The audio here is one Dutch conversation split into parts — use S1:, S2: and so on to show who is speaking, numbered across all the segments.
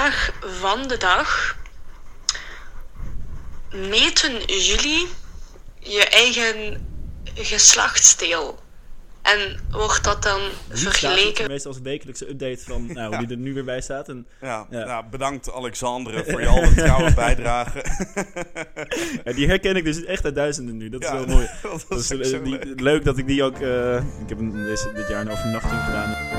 S1: vraag van de dag. Meten jullie je eigen geslachtsdeel? En wordt dat dan
S2: Vergeleken.
S1: vergeleken?
S2: Meestal onze wekelijkse update van nou, hoe die er nu weer bij staat. En
S3: Ja,
S2: Ja.
S3: nou, bedankt Alexandre voor je alle trouwe bijdrage.
S2: Ja, die herken ik dus echt uit duizenden nu. Dat is
S3: Ja,
S2: wel mooi.
S3: dat was
S2: Dat is,
S3: ook
S2: eh,
S3: zo
S2: die-
S3: leuk.
S2: leuk dat ik die ook. eh, ik heb een, deze- dit jaar een overnachting gedaan.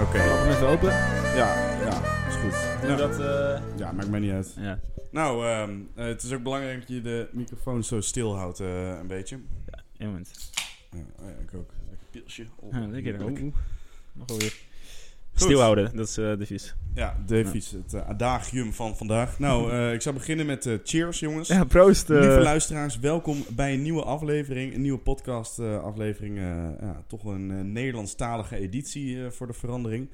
S4: Oké,
S2: Kom even open.
S4: ja, ja, is goed.
S2: Doe
S4: Ja,
S2: dat. eh,
S4: ja, maakt mij niet uit.
S2: ja.
S3: Nou, ehm, eh, het is ook belangrijk dat je de microfoon zo stil houdt, eh, een beetje.
S2: Eén moment.
S3: Ja, oh ja, ik ook. Lekker pilsje. Oh,
S2: Ja, lekker.
S3: heerlijk.
S2: Oeh, oeh. Mag alweer. Stilhouden, dat is eh de vies.
S3: Ja, Davies, het eh, adagium van vandaag. Nou, eh, ik zou beginnen met eh, cheers, jongens.
S2: Ja, proost. eh.
S3: Lieve luisteraars, welkom bij een nieuwe aflevering, een nieuwe podcast eh, aflevering. eh, ja, toch een eh, Nederlandstalige editie eh, voor de verandering.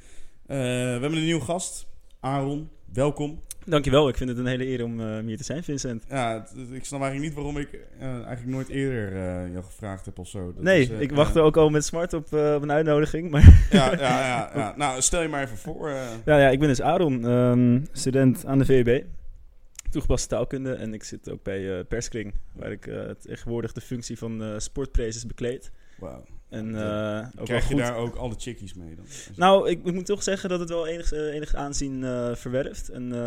S3: Eh, we hebben een nieuwe gast, Aaron. Welkom.
S2: Dankjewel, ik vind het een hele eer om eh, hier te zijn, Vincent.
S3: Ja, het- het- ik snap eigenlijk niet waarom ik eh, eigenlijk nooit eerder eh, jou gevraagd heb of zo. Dat
S2: nee,
S3: is, eh,
S2: ik
S3: eh,
S2: wachtte ook al met smart op, eh, op een uitnodiging. Maar
S3: Ja, ja, ja, ja. Nou, stel je maar even voor. eh.
S2: ja, ja, ik ben dus Aaron, ehm, student aan de VUB. Toegepaste taalkunde. En ik zit ook bij eh, Perskring, waar ik eh, tegenwoordig de functie van eh sportprezes bekleed.
S3: Wauw.
S2: En
S3: Oké.
S2: eh, ook wel
S3: Krijg je
S2: goed.
S3: daar ook alle chickies mee dan?
S2: Nou, ik, ik moet toch zeggen dat het wel enig, eh, enig aanzien eh, verwerft. En eh,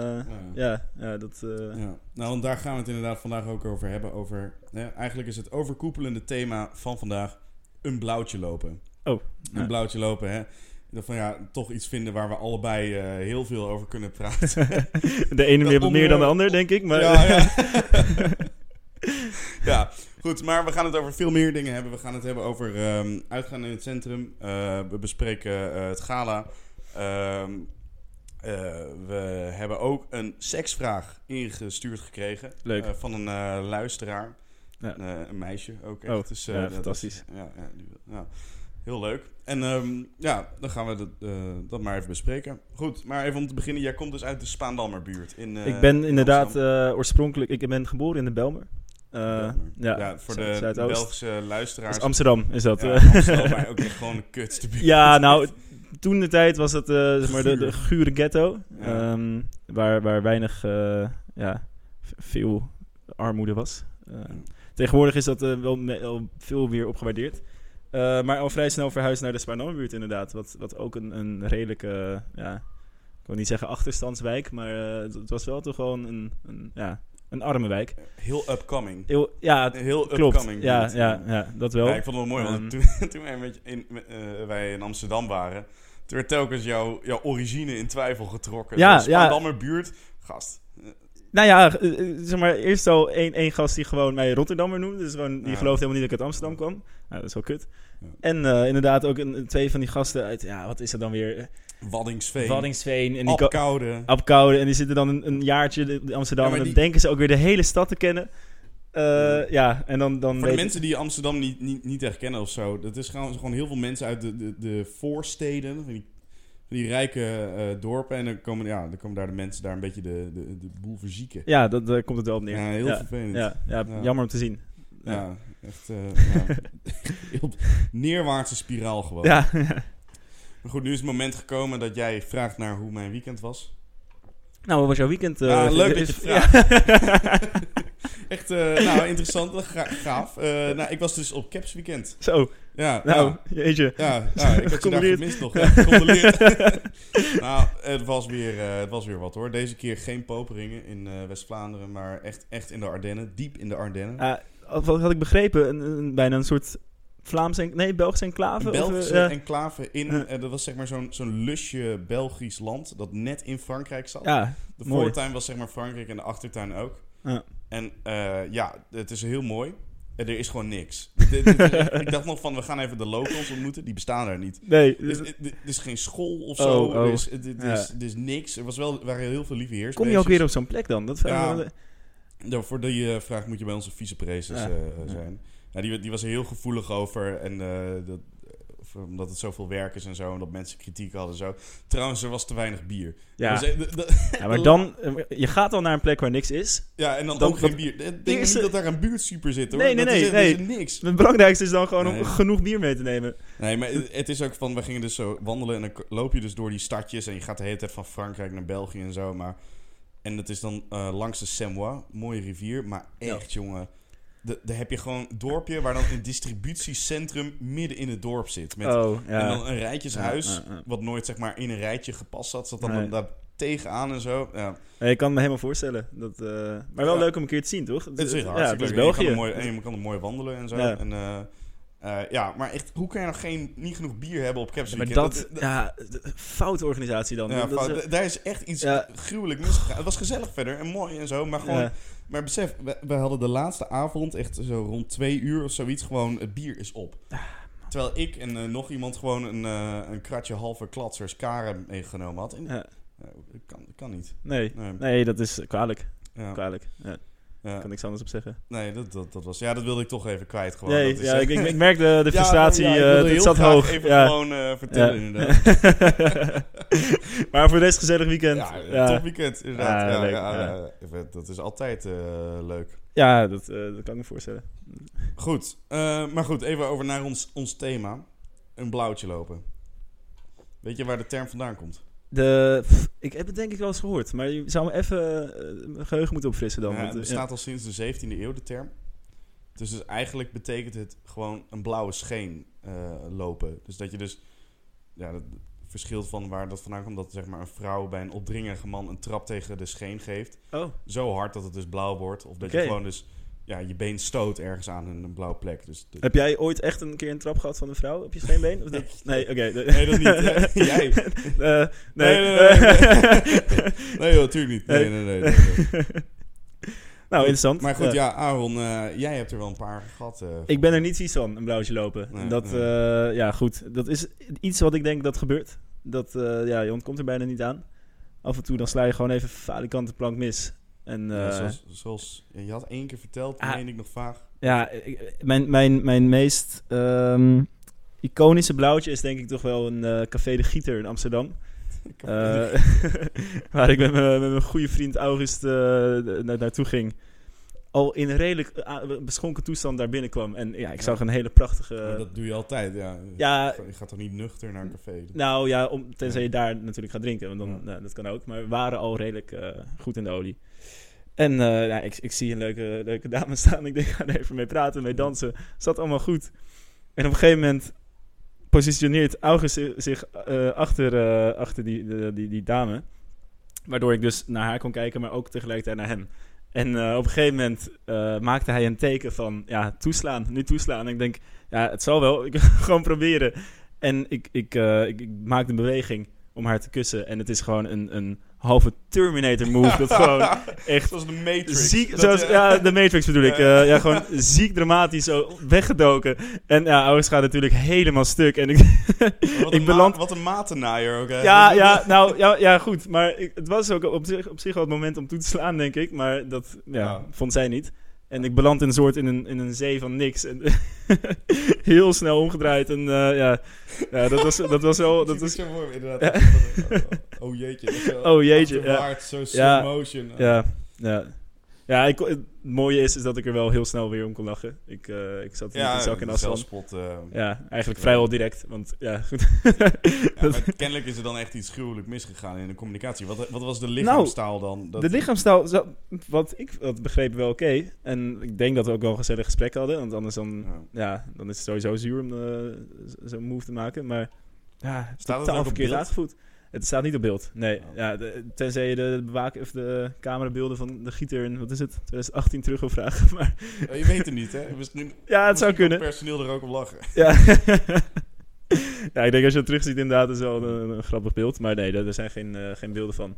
S3: Ja.
S2: ja, ja, dat... eh,
S3: Ja, nou, want daar gaan we het inderdaad vandaag ook over hebben. Over, hè, eigenlijk is het overkoepelende thema van vandaag een blauwtje lopen.
S2: Oh,
S3: Een
S2: ja.
S3: blauwtje lopen, hè. Dat Van ja, toch iets vinden waar we allebei eh, heel veel over kunnen praten.
S2: de ene meer,
S3: om,
S2: meer dan de
S3: eh,
S2: ander, denk ik. Maar
S3: Ja, ja. ja, goed. Maar we gaan het over veel meer dingen hebben. We gaan het hebben over ehm, uitgaan in het centrum. Eh, we bespreken eh, het gala. Ehm, eh, we hebben ook een seksvraag ingestuurd gekregen.
S2: Leuk.
S3: eh, van een eh, luisteraar.
S2: Ja.
S3: Een, eh, een meisje ook
S2: Oh,
S3: echt. Dus, eh,
S2: ja,
S3: dat is-
S2: fantastisch.
S3: ja, ja, die wil- ja. Heel leuk. En ehm, ja, dan gaan we dat, eh, dat maar even bespreken. Goed, maar even om te beginnen. Jij komt dus uit de Spaandammerbuurt. In, eh,
S2: ik ben inderdaad
S3: Amsterdam.
S2: eh, oorspronkelijk... Ik ben geboren in de Belmer. Eh,
S3: ja,
S2: ja,
S3: voor
S2: Zuid-
S3: de
S2: Zuidoost.
S3: Belgische luisteraars.
S2: Dus Amsterdam is dat.
S3: ja,
S2: eh.
S3: Amsterdam, maar ook echt gewoon de kutste buurt.
S2: Ja, nou, toen de tijd was dat eh, zeg maar de,
S3: Guur.
S2: de gure ghetto.
S3: Ja.
S2: ehm, waar, waar weinig, eh, ja, v- veel armoede was. Eh, Tegenwoordig is dat eh, wel me- wel veel weer opgewaardeerd. Eh, maar al vrij snel verhuisd naar de Spaarnammerbuurt inderdaad. Wat, wat ook een, een redelijke, eh, ja, ik wil niet zeggen achterstandswijk. Maar eh, het, het was wel toch gewoon een, een, ja, een arme wijk.
S3: Heel upcoming.
S2: Heel- ja, het
S3: Een Heel
S2: klopt.
S3: upcoming.
S2: Ja,
S3: buurt.
S2: ja, ja, dat wel. Ehm.
S3: Ja, ik vond het wel mooi, want toen, toen wij, met, je- in, eh, wij in Amsterdam waren, toen werd telkens jouw, jouw origine in twijfel getrokken.
S2: Ja,
S3: de Spaandammerbuurt, gast.
S2: Nou ja, eh, eh, zeg maar, eerst al één, één gast die gewoon mij Rotterdammer noemde. Dus gewoon, die
S3: Ja.
S2: geloofde helemaal niet dat ik uit Amsterdam kwam. Nou, dat is wel kut.
S3: Ja.
S2: En eh, inderdaad ook een, twee van die gasten uit, ja, wat is dat dan weer?
S3: Waddingsveen,
S2: Waddingsveen en die ko-
S3: Apkoude.
S2: Apeldoorn. En die zitten dan een, een jaartje in Amsterdam.
S3: Ja, maar
S2: en dan
S3: die-
S2: denken ze ook weer de hele stad te kennen. Eh, ja, en dan, dan
S3: Voor de
S2: weet-
S3: mensen die Amsterdam niet, niet, niet echt kennen of zo, dat is gewoon, gewoon heel veel mensen uit de, de, de voorsteden, van die, van die rijke eh, dorpen. En dan komen, ja, dan komen daar de mensen daar een beetje de, de, de boel verzieken.
S2: Ja, dat, daar komt het wel op neer.
S3: Ja, heel
S2: ja,
S3: vervelend. Ja,
S2: ja, ja,
S3: Ja.
S2: jammer om te zien.
S3: echt eh, ja. heel neerwaartse spiraal gewoon.
S2: Ja,
S3: Maar goed, nu is het moment gekomen dat jij vraagt naar hoe mijn weekend was.
S2: nou, wat was jouw weekend? eh,
S3: Ja,
S2: Vin-
S3: Ah, leuk dat je
S2: Ja.
S3: Echt, eh, nou, interessant, ga- gaaf. Eh, nou, ik was dus op Caps weekend.
S2: Zo,
S3: Ja,
S2: nou,
S3: ja.
S2: jeetje.
S3: Ja, ja, ik had je daar
S2: Gecondoleerd.
S3: gemist nog. Ja, gecondoleerd. nou, het was, weer, eh, het was weer wat hoor. Deze keer geen poperingen in eh, West-Vlaanderen, maar echt, echt in de Ardennen. Diep in de Ardennen.
S2: Ja, Eh, wat had ik begrepen? Een, een- bijna een soort Vlaams en... Nee, Belgisch enclave?
S3: Een
S2: of,
S3: Belgische
S2: eh,
S3: enclave in,
S2: Ja.
S3: eh, dat was zeg maar zo'n zo'n lusje Belgisch land dat net in Frankrijk zat.
S2: ja,
S3: de
S2: mooi.
S3: voortuin was zeg maar Frankrijk en de achtertuin ook.
S2: Ja.
S3: En eh, ja, het is heel mooi. En er is gewoon niks. Dit- dit- ik dacht nog van, we gaan even de locals ontmoeten. Die bestaan daar niet.
S2: nee.
S3: Er is,
S2: dus-
S3: er is geen school of
S2: Oh,
S3: zo.
S2: oh.
S3: Er, is, er, er
S2: Ja.
S3: is, er is niks. Er was wel, er waren heel veel lieve heers.
S2: kom je ook weer op zo'n plek dan? Dat vraag ik
S3: Ja.
S2: me-
S3: Ja, voor die eh, vraag moet je bij onze vicepreces
S2: Ja.
S3: eh, zijn. Ja, die, die was er heel gevoelig over. En eh, dat, Of omdat het zoveel werk is en zo. En dat mensen kritiek hadden en zo. Trouwens, er was te weinig bier.
S2: Ja.
S3: Dus, eh, d- d-
S2: Ja, maar dan, eh, je gaat al naar een plek waar niks is.
S3: ja, en dan,
S2: Dan-
S3: ook geen
S2: dat-
S3: bier. Ik
S2: die
S3: denk
S2: is
S3: niet
S2: er-
S3: dat daar een buurtsuper zit hoor.
S2: Nee, nee,
S3: Dat is-
S2: nee,
S3: dat is
S2: nee.
S3: niks.
S2: Het belangrijkste is dan gewoon om
S3: Nee.
S2: genoeg bier mee te nemen.
S3: Nee, maar het het is ook van, we gingen dus zo wandelen en dan k- loop je dus door die stadjes en je gaat de hele tijd van Frankrijk naar België en zo. Maar, en dat is dan eh, langs de Semois, mooie rivier, maar echt jongen. de- Daar heb je gewoon een dorpje waar dan een distributiecentrum midden in het dorp zit. Met,
S2: oh, ja.
S3: En dan een rijtjeshuis,
S2: Ja, ja, ja.
S3: wat nooit zeg maar in een rijtje gepast zat, zat dan
S2: Nee.
S3: daar tegenaan en zo. Ja,
S2: Ja, ik kan me helemaal voorstellen. Dat, eh, maar wel
S3: Ja.
S2: leuk om een keer te zien, toch?
S3: het is echt
S2: ja,
S3: hartstikke
S2: het is
S3: leuk. En je kan er
S2: België.
S3: mooi- En je kan er mooi wandelen en zo.
S2: Ja.
S3: En, eh, eh, ja, maar echt, hoe kan je nog geen, niet genoeg bier hebben op Caps
S2: maar
S3: Weekend?
S2: dat, ja, foute organisatie dan.
S3: Ja,
S2: Dat is-
S3: fout. Da- daar is echt iets
S2: Ja.
S3: gruwelijk misgegaan. Het was gezellig verder en mooi en zo, maar gewoon...
S2: ja.
S3: Maar besef, we, we hadden de laatste avond, echt zo rond twee uur of zoiets, gewoon het bier is op.
S2: Ah,
S3: Terwijl ik en eh, nog iemand gewoon een, eh, een kratje halve klatsers Karen meegenomen had. En,
S2: Ja.
S3: eh, dat kan, dat kan niet.
S2: nee.
S3: Nee,
S2: nee, dat is kwalijk.
S3: ja,
S2: kwalijk. Ja,
S3: ja.
S2: kan niks anders op zeggen.
S3: nee dat, dat, dat was... Ja, dat wilde ik toch even kwijt gewoon.
S2: nee,
S3: dat is,
S2: ja,
S3: eh,
S2: ik, ik, ik merk de, de
S3: ja,
S2: frustratie.
S3: ja, ik
S2: eh,
S3: wilde
S2: dit
S3: heel
S2: zat
S3: graag
S2: hoog.
S3: even
S2: ja.
S3: gewoon eh, vertellen
S2: Ja.
S3: inderdaad.
S2: maar voor deze gezellig weekend.
S3: Ja,
S2: Ja,
S3: top weekend inderdaad.
S2: Ja,
S3: Ja,
S2: leuk,
S3: ja,
S2: ja.
S3: ja. Even- Dat is altijd eh, leuk.
S2: Ja, dat, eh, dat kan ik me voorstellen.
S3: Goed, eh, maar goed, even over naar ons, ons thema. Een blauwtje lopen. Weet je waar de term vandaan komt?
S2: De, pff, ik heb het denk ik wel eens gehoord, maar je zou me even eh, mijn geheugen moeten opfrissen dan.
S3: Ja,
S2: want,
S3: het
S2: eh,
S3: bestaat al sinds de 17e eeuw, de term. Dus, dus eigenlijk betekent het gewoon een blauwe scheen eh, lopen. Dus dat je dus... Ja, dat verschilt van waar dat vandaan komt. Dat zeg maar een vrouw bij een opdringerige man een trap tegen de scheen geeft.
S2: ja. Oh,
S3: Zo hard dat het dus blauw wordt. Of dat
S2: Oké.
S3: je gewoon dus... Ja, je been stoot ergens aan in een blauwe plek. Dus de-
S2: heb jij ooit echt een keer een trap gehad van een vrouw op je scheenbeen? Of dat? Nee, oké.
S3: Nee, dat niet. Jij.
S2: Eh, nee.
S3: Nee, nee, Nee, joh, natuurlijk niet. Nee, nee, nee. nee, nee.
S2: nou, interessant.
S3: Maar goed,
S2: Ja.
S3: ja, Aaron, eh, jij hebt er wel een paar gehad. eh,
S2: Ik ben er niet vies van, een blauwtje lopen.
S3: Nee,
S2: dat,
S3: nee.
S2: eh, ja, goed. Dat is iets wat ik denk dat gebeurt. Dat, eh, ja, je ontkomt er bijna niet aan. Af en toe dan sla je gewoon even falikant de plank mis. En,
S3: ja,
S2: eh,
S3: zoals, zoals je had één keer verteld,
S2: Ah.
S3: meen ik nog vaag.
S2: Ja, ik- mijn, mijn, mijn meest ehm, iconische blauwtje is denk ik toch wel een eh, Café de Gieter in Amsterdam.
S3: Ik heb-
S2: Eh, waar ik met mijn, met mijn goede vriend August eh, na- naartoe ging. Al in redelijk eh, beschonken toestand daar binnenkwam. En ja, ik zag een hele prachtige...
S3: Maar dat doe je altijd, ja.
S2: ja,
S3: Je gaat toch niet nuchter naar een café?
S2: nou ja, om, tenzij je daar natuurlijk gaat drinken. Want dan,
S3: Ja.
S2: nou, dat kan ook. Maar we waren al redelijk eh, goed in de olie. En eh, ja, ik, ik zie een leuke, leuke dame staan. Ik denk, ga er even mee praten, mee dansen. Zat allemaal goed. En op een gegeven moment positioneert August zi- zich eh, achter, eh, achter die, de- die, die dame. Waardoor ik dus naar haar kon kijken, maar ook tegelijkertijd naar hem. En eh, op een gegeven moment eh, maakte hij een teken van, ja, toeslaan, nu toeslaan. En ik denk, ja, het zal wel, ik wil gewoon proberen. En ik, ik, eh, ik, ik maakte een beweging om haar te kussen. En het is gewoon een, een halve Terminator move. Dat gewoon echt
S3: Zoals de Matrix.
S2: Ziek,
S3: Dat,
S2: zoals,
S3: eh,
S2: ja, de Matrix bedoel ik.
S3: Ja.
S2: Eh, ja, gewoon ziek dramatisch zo weggedoken. En ja, Ouders gaat natuurlijk helemaal stuk. En ik,
S3: wat
S2: ik
S3: een
S2: beland-
S3: ma- Wat een matennaaier ook, hè.
S2: ja, ja, nou, ja, ja goed. Maar ik- het was ook op zich, op zich wel het moment om toe te slaan, denk ik. Maar dat ja,
S3: Ja.
S2: vond zij niet. En ik beland in een soort in een, in een zee van niks. En heel snel omgedraaid. En eh, ja, ja, dat was, dat was wel... Dat
S3: Dat is
S2: was,
S3: zo mooi, inderdaad. Oh jeetje. Zo
S2: Oh, jeetje, ja.
S3: achterwaarts, zo slow
S2: Ja.
S3: motion. eh.
S2: ja, ja. Ja, ik, kon- het mooie is, is dat ik er wel heel snel weer om kon lachen. Ik, eh, ik zat
S3: Ja,
S2: in de zak in
S3: de
S2: afstand.
S3: zelfspot, eh,
S2: Ja, eigenlijk vrijwel direct. Want ja, goed.
S3: Ja, maar kennelijk is er dan echt iets gruwelijk misgegaan in de communicatie. Wat, wat was de lichaamstaal dan? Dat-
S2: Nou, de lichaamstaal, zo- wat ik dat begreep, wel oké. En ik denk dat we ook wel een gezellig gesprek hadden. Want anders dan,
S3: Ja.
S2: ja, dan is het sowieso zuur om eh, z- zo'n move te maken. Maar ja,
S3: Staat het ook
S2: totaal
S3: op
S2: verkeerd
S3: beeld?
S2: aangevoed. Het staat niet op beeld, nee.
S3: Oh.
S2: Ja, de- tenzij je de, bewaak, of de camerabeelden van de gieter in, wat is het, 2018 terug wil vragen. Maar
S3: Ja, je weet het niet, hè? Misschien
S2: ja, het zou kunnen.
S3: kan personeel er ook op lachen.
S2: Ja. ja, ik denk als je dat terugziet inderdaad is wel een, een grappig beeld. Maar nee, daar- er zijn geen, eh, geen beelden van.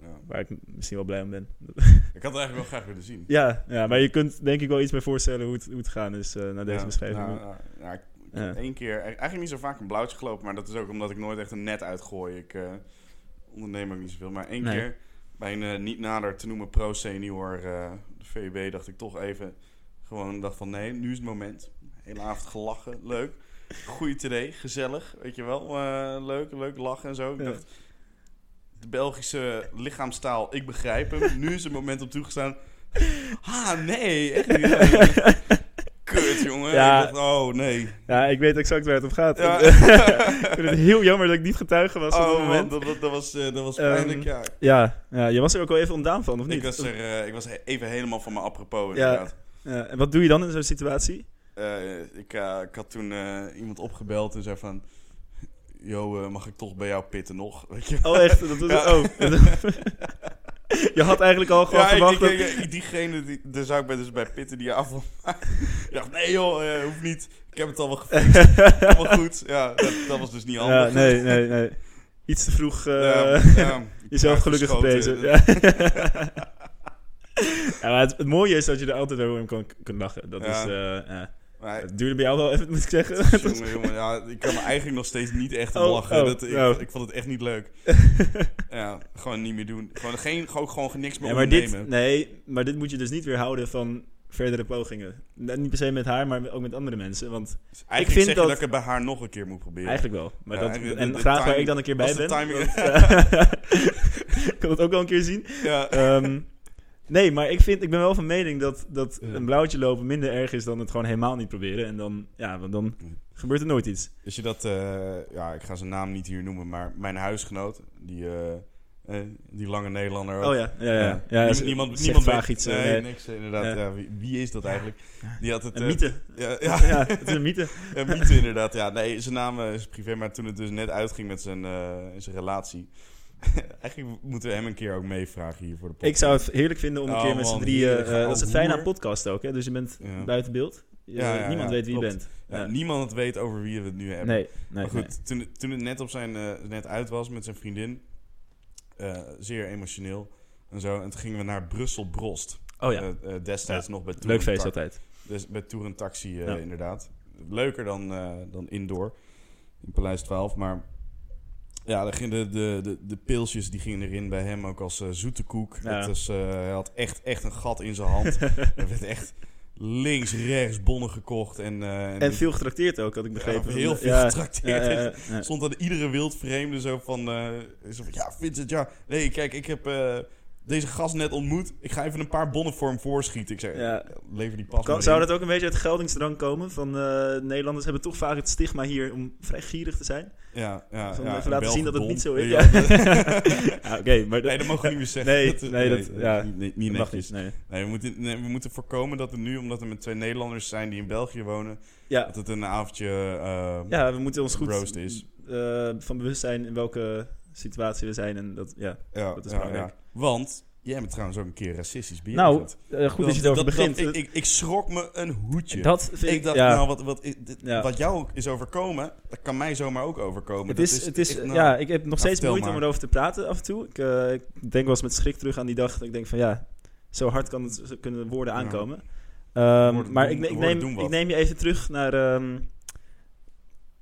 S3: Ja.
S2: Waar ik misschien wel blij om ben.
S3: Ik had het eigenlijk wel graag willen zien.
S2: ja, ja, maar je kunt denk ik wel iets bij voorstellen hoe het, hoe het gaan is eh na deze
S3: Ja,
S2: beschrijving.
S3: nou, nou, nou, ik ik
S2: Ja.
S3: heb één keer, e-, eigenlijk niet zo vaak een blauwtje gelopen, maar dat is ook omdat ik nooit echt een net uitgooi. Ik eh, onderneem ook niet zoveel, maar één
S2: Nee.
S3: keer bij een eh, niet nader te noemen pro-senior eh, de VUB dacht ik toch even gewoon dacht van nee, nu is het moment. Hele avond gelachen, leuk. Goeie tiré, gezellig, weet je wel. Eh, leuk, leuk lachen en zo. Ik
S2: Ja.
S3: dacht, de Belgische lichaamstaal, ik begrijp hem. Nu is het moment op toegestaan. Ah, nee, echt niet. Kut, jongen.
S2: Ja.
S3: Ik dacht, oh, nee.
S2: Ja, ik weet exact waar het om gaat.
S3: Ja.
S2: ik vind het heel jammer dat ik niet getuige was op dat
S3: Oh,
S2: moment.
S3: want dat, dat, dat was, eh, dat was
S2: Ehm,
S3: pijnlijk, ja.
S2: Ja, ja, je was er ook wel even ontdaan van, of niet?
S3: Ik was, er, eh, ik was he- even helemaal van mijn apropos,
S2: Ja.
S3: inderdaad.
S2: Ja, en wat doe je dan in zo'n situatie?
S3: Eh, ik, eh, ik had toen eh, iemand opgebeld en zei van... Yo, eh, mag ik toch bij jou pitten nog? Weet je
S2: Oh, echt? Dat was,
S3: Ja.
S2: oh. je had eigenlijk al gewoon
S3: ja, ik-
S2: verwacht
S3: ik,
S2: dat...
S3: ik- ik- diegene, die, daar zou ik bij, dus bij pitten die je af wil maken. Ik dacht, nee joh, eh, hoeft niet. Ik heb het al wel gefixt. Allemaal goed. Ja, dat, dat was dus niet handig.
S2: ja, nee, nee, nee. Iets te vroeg... eh,
S3: Ja, ja,
S2: Jezelf gelukkig
S3: uitgeschoten.
S2: geprezen. Ja. Ja, maar het, het mooie is dat je er altijd over om kan, kan lachen. Dat
S3: Ja.
S2: is, eh, ja.
S3: Maar,
S2: Het duurde bij jou wel even, moet ik zeggen.
S3: jongen, jongen, ja, ik kan me eigenlijk nog steeds niet echt om
S2: Oh,
S3: lachen.
S2: oh,
S3: dat, ik,
S2: oh.
S3: ik vond het echt niet leuk. ja, gewoon niet meer doen. Gewoon, geen, gewoon, gewoon niks meer
S2: Ja, maar dit,
S3: ondernemen.
S2: nee, maar dit moet je dus niet weerhouden van verdere pogingen. Net Niet per se met haar, maar ook met andere mensen. Want
S3: Dus Eigenlijk
S2: vind
S3: zeg je
S2: dat-
S3: dat ik het bij haar nog een keer moet proberen.
S2: eigenlijk wel. Maar
S3: Ja,
S2: dat,
S3: eigenlijk de-
S2: en
S3: de
S2: graag waar
S3: timing-
S2: ik dan een keer bij
S3: als de
S2: ben.
S3: timing-
S2: want- ik kan dat ook wel een keer zien.
S3: Ja.
S2: Ehm, nee, maar ik, vind, ik ben wel van mening dat, dat
S3: Ja.
S2: een blauwtje lopen minder erg is dan het gewoon helemaal niet proberen. En dan, ja, want dan gebeurt er nooit iets.
S3: Als je dat, eh, ja, ik ga zijn naam niet hier noemen, maar mijn huisgenoot, die, eh, eh, die lange Nederlander. ook.
S2: Oh ja, ja, ja. ja.
S3: Niem-
S2: ze-
S3: niemand,
S2: zegt
S3: niemand
S2: vaag
S3: weet-
S2: iets. eh,
S3: Nee,
S2: nee.
S3: niks, eh, inderdaad.
S2: Ja.
S3: Ja. wie, wie is dat eigenlijk? Die had het.
S2: Een
S3: eh,
S2: mythe.
S3: Ja,
S2: Ja.
S3: ja,
S2: het is een mythe.
S3: een mythe inderdaad. Ja, nee, zijn naam eh, is privé, maar toen het dus net uitging met zijn, eh, zijn relatie. eigenlijk moeten we hem een keer ook meevragen hier voor de
S2: Ik
S3: podcast.
S2: zou het heerlijk vinden om een
S3: Oh,
S2: keer met z'n
S3: man,
S2: drieën...
S3: heerlijk.
S2: eh dat is het fijne aan
S3: Ouwe
S2: podcast ook, hè? Dus je bent
S3: Ja.
S2: buiten beeld. Je-
S3: Ja, ja,
S2: niemand
S3: ja,
S2: weet wie je
S3: klopt.
S2: bent.
S3: Ja,
S2: Ja.
S3: Niemand weet over wie we het nu hebben.
S2: Nee, nee,
S3: maar goed, toen, het- toen het net op zijn eh, net uit was met zijn vriendin, eh, zeer emotioneel en zo. En toen gingen we naar Brussel Brost.
S2: nee. Oh ja,
S3: Eh, eh, destijds nog bij Tour
S2: leuk feest
S3: Taxi.
S2: altijd.
S3: Dus bij Tour en Taxi eh,
S2: Ja.
S3: inderdaad. Leuker dan, eh, dan indoor in Paleis 12. Maar ja, daar gingen de, de, de, de pilsjes die gingen erin bij hem ook als eh, zoete koek.
S2: Ja.
S3: Dat is, eh, hij had echt, echt een gat in zijn hand. er werd echt links, rechts bonnen gekocht. En, eh,
S2: En veel getrakteerd ook, had ik
S3: ja,
S2: begrepen.
S3: heel veel
S2: Ja,
S3: getrakteerd.
S2: ja, ja, ja.
S3: Stond aan iedere wildvreemde zo van, eh, zo van, Ja, Vincent, ja. Nee, kijk, ik heb eh, deze gast net ontmoet. Ik ga even een paar bonnen voor hem voorschieten. Ik zei:
S2: Ja.
S3: Lever die pas.
S2: Kan,
S3: maar
S2: zou
S3: in.
S2: dat ook een beetje uit geldingsdrang komen? Van eh, Nederlanders hebben toch vaak het stigma hier om vrij gierig te zijn.
S3: Ja, ja.
S2: Om
S3: ja,
S2: even
S3: een
S2: laten zien
S3: Belg
S2: dat het niet zo is.
S3: dom.
S2: Ja. Ja, Ah, Oké, maar dat,
S3: Nee, dat mogen we niet meer zeggen.
S2: Nee,
S3: dat,
S2: nee, dat- ja,
S3: is niet, niet, niet
S2: dat mag
S3: netjes.
S2: niet. Nee.
S3: Nee, we moeten, nee, we moeten voorkomen dat er nu, omdat er met twee Nederlanders zijn die in België wonen,
S2: Ja,
S3: dat het een avondje... eh,
S2: ja, we moeten ons goed
S3: Roast is.
S2: eh, van bewust zijn in welke situatie we zijn. En dat, ja.
S3: ja,
S2: dat is
S3: ja,
S2: belangrijk.
S3: ja. Want jij bent trouwens ook een keer racistisch bejegend.
S2: Nou, eh, goed dat, je
S3: Want
S2: erover begint.
S3: ik, ik, ik schrok me een hoedje.
S2: Dat vind
S3: ik dacht,
S2: ja.
S3: nou, wat, wat, i- dit-
S2: Ja.
S3: wat jou is overkomen, dat kan mij zomaar ook overkomen.
S2: Het
S3: Dat
S2: is, het is,
S3: echt, nou,
S2: ja, ik heb nog steeds
S3: vertel
S2: moeite om
S3: maar.
S2: erover te praten af en toe. Ik, eh, ik denk wel eens met schrik terug aan die dag. Dat ik denk van ja, zo hard kan het, zo kunnen woorden
S3: Ja.
S2: aankomen. Ehm,
S3: Woorden
S2: maar
S3: doen-
S2: ik, ne- ik,
S3: woorden
S2: neem,
S3: doen wat.
S2: ik neem je even terug naar ehm,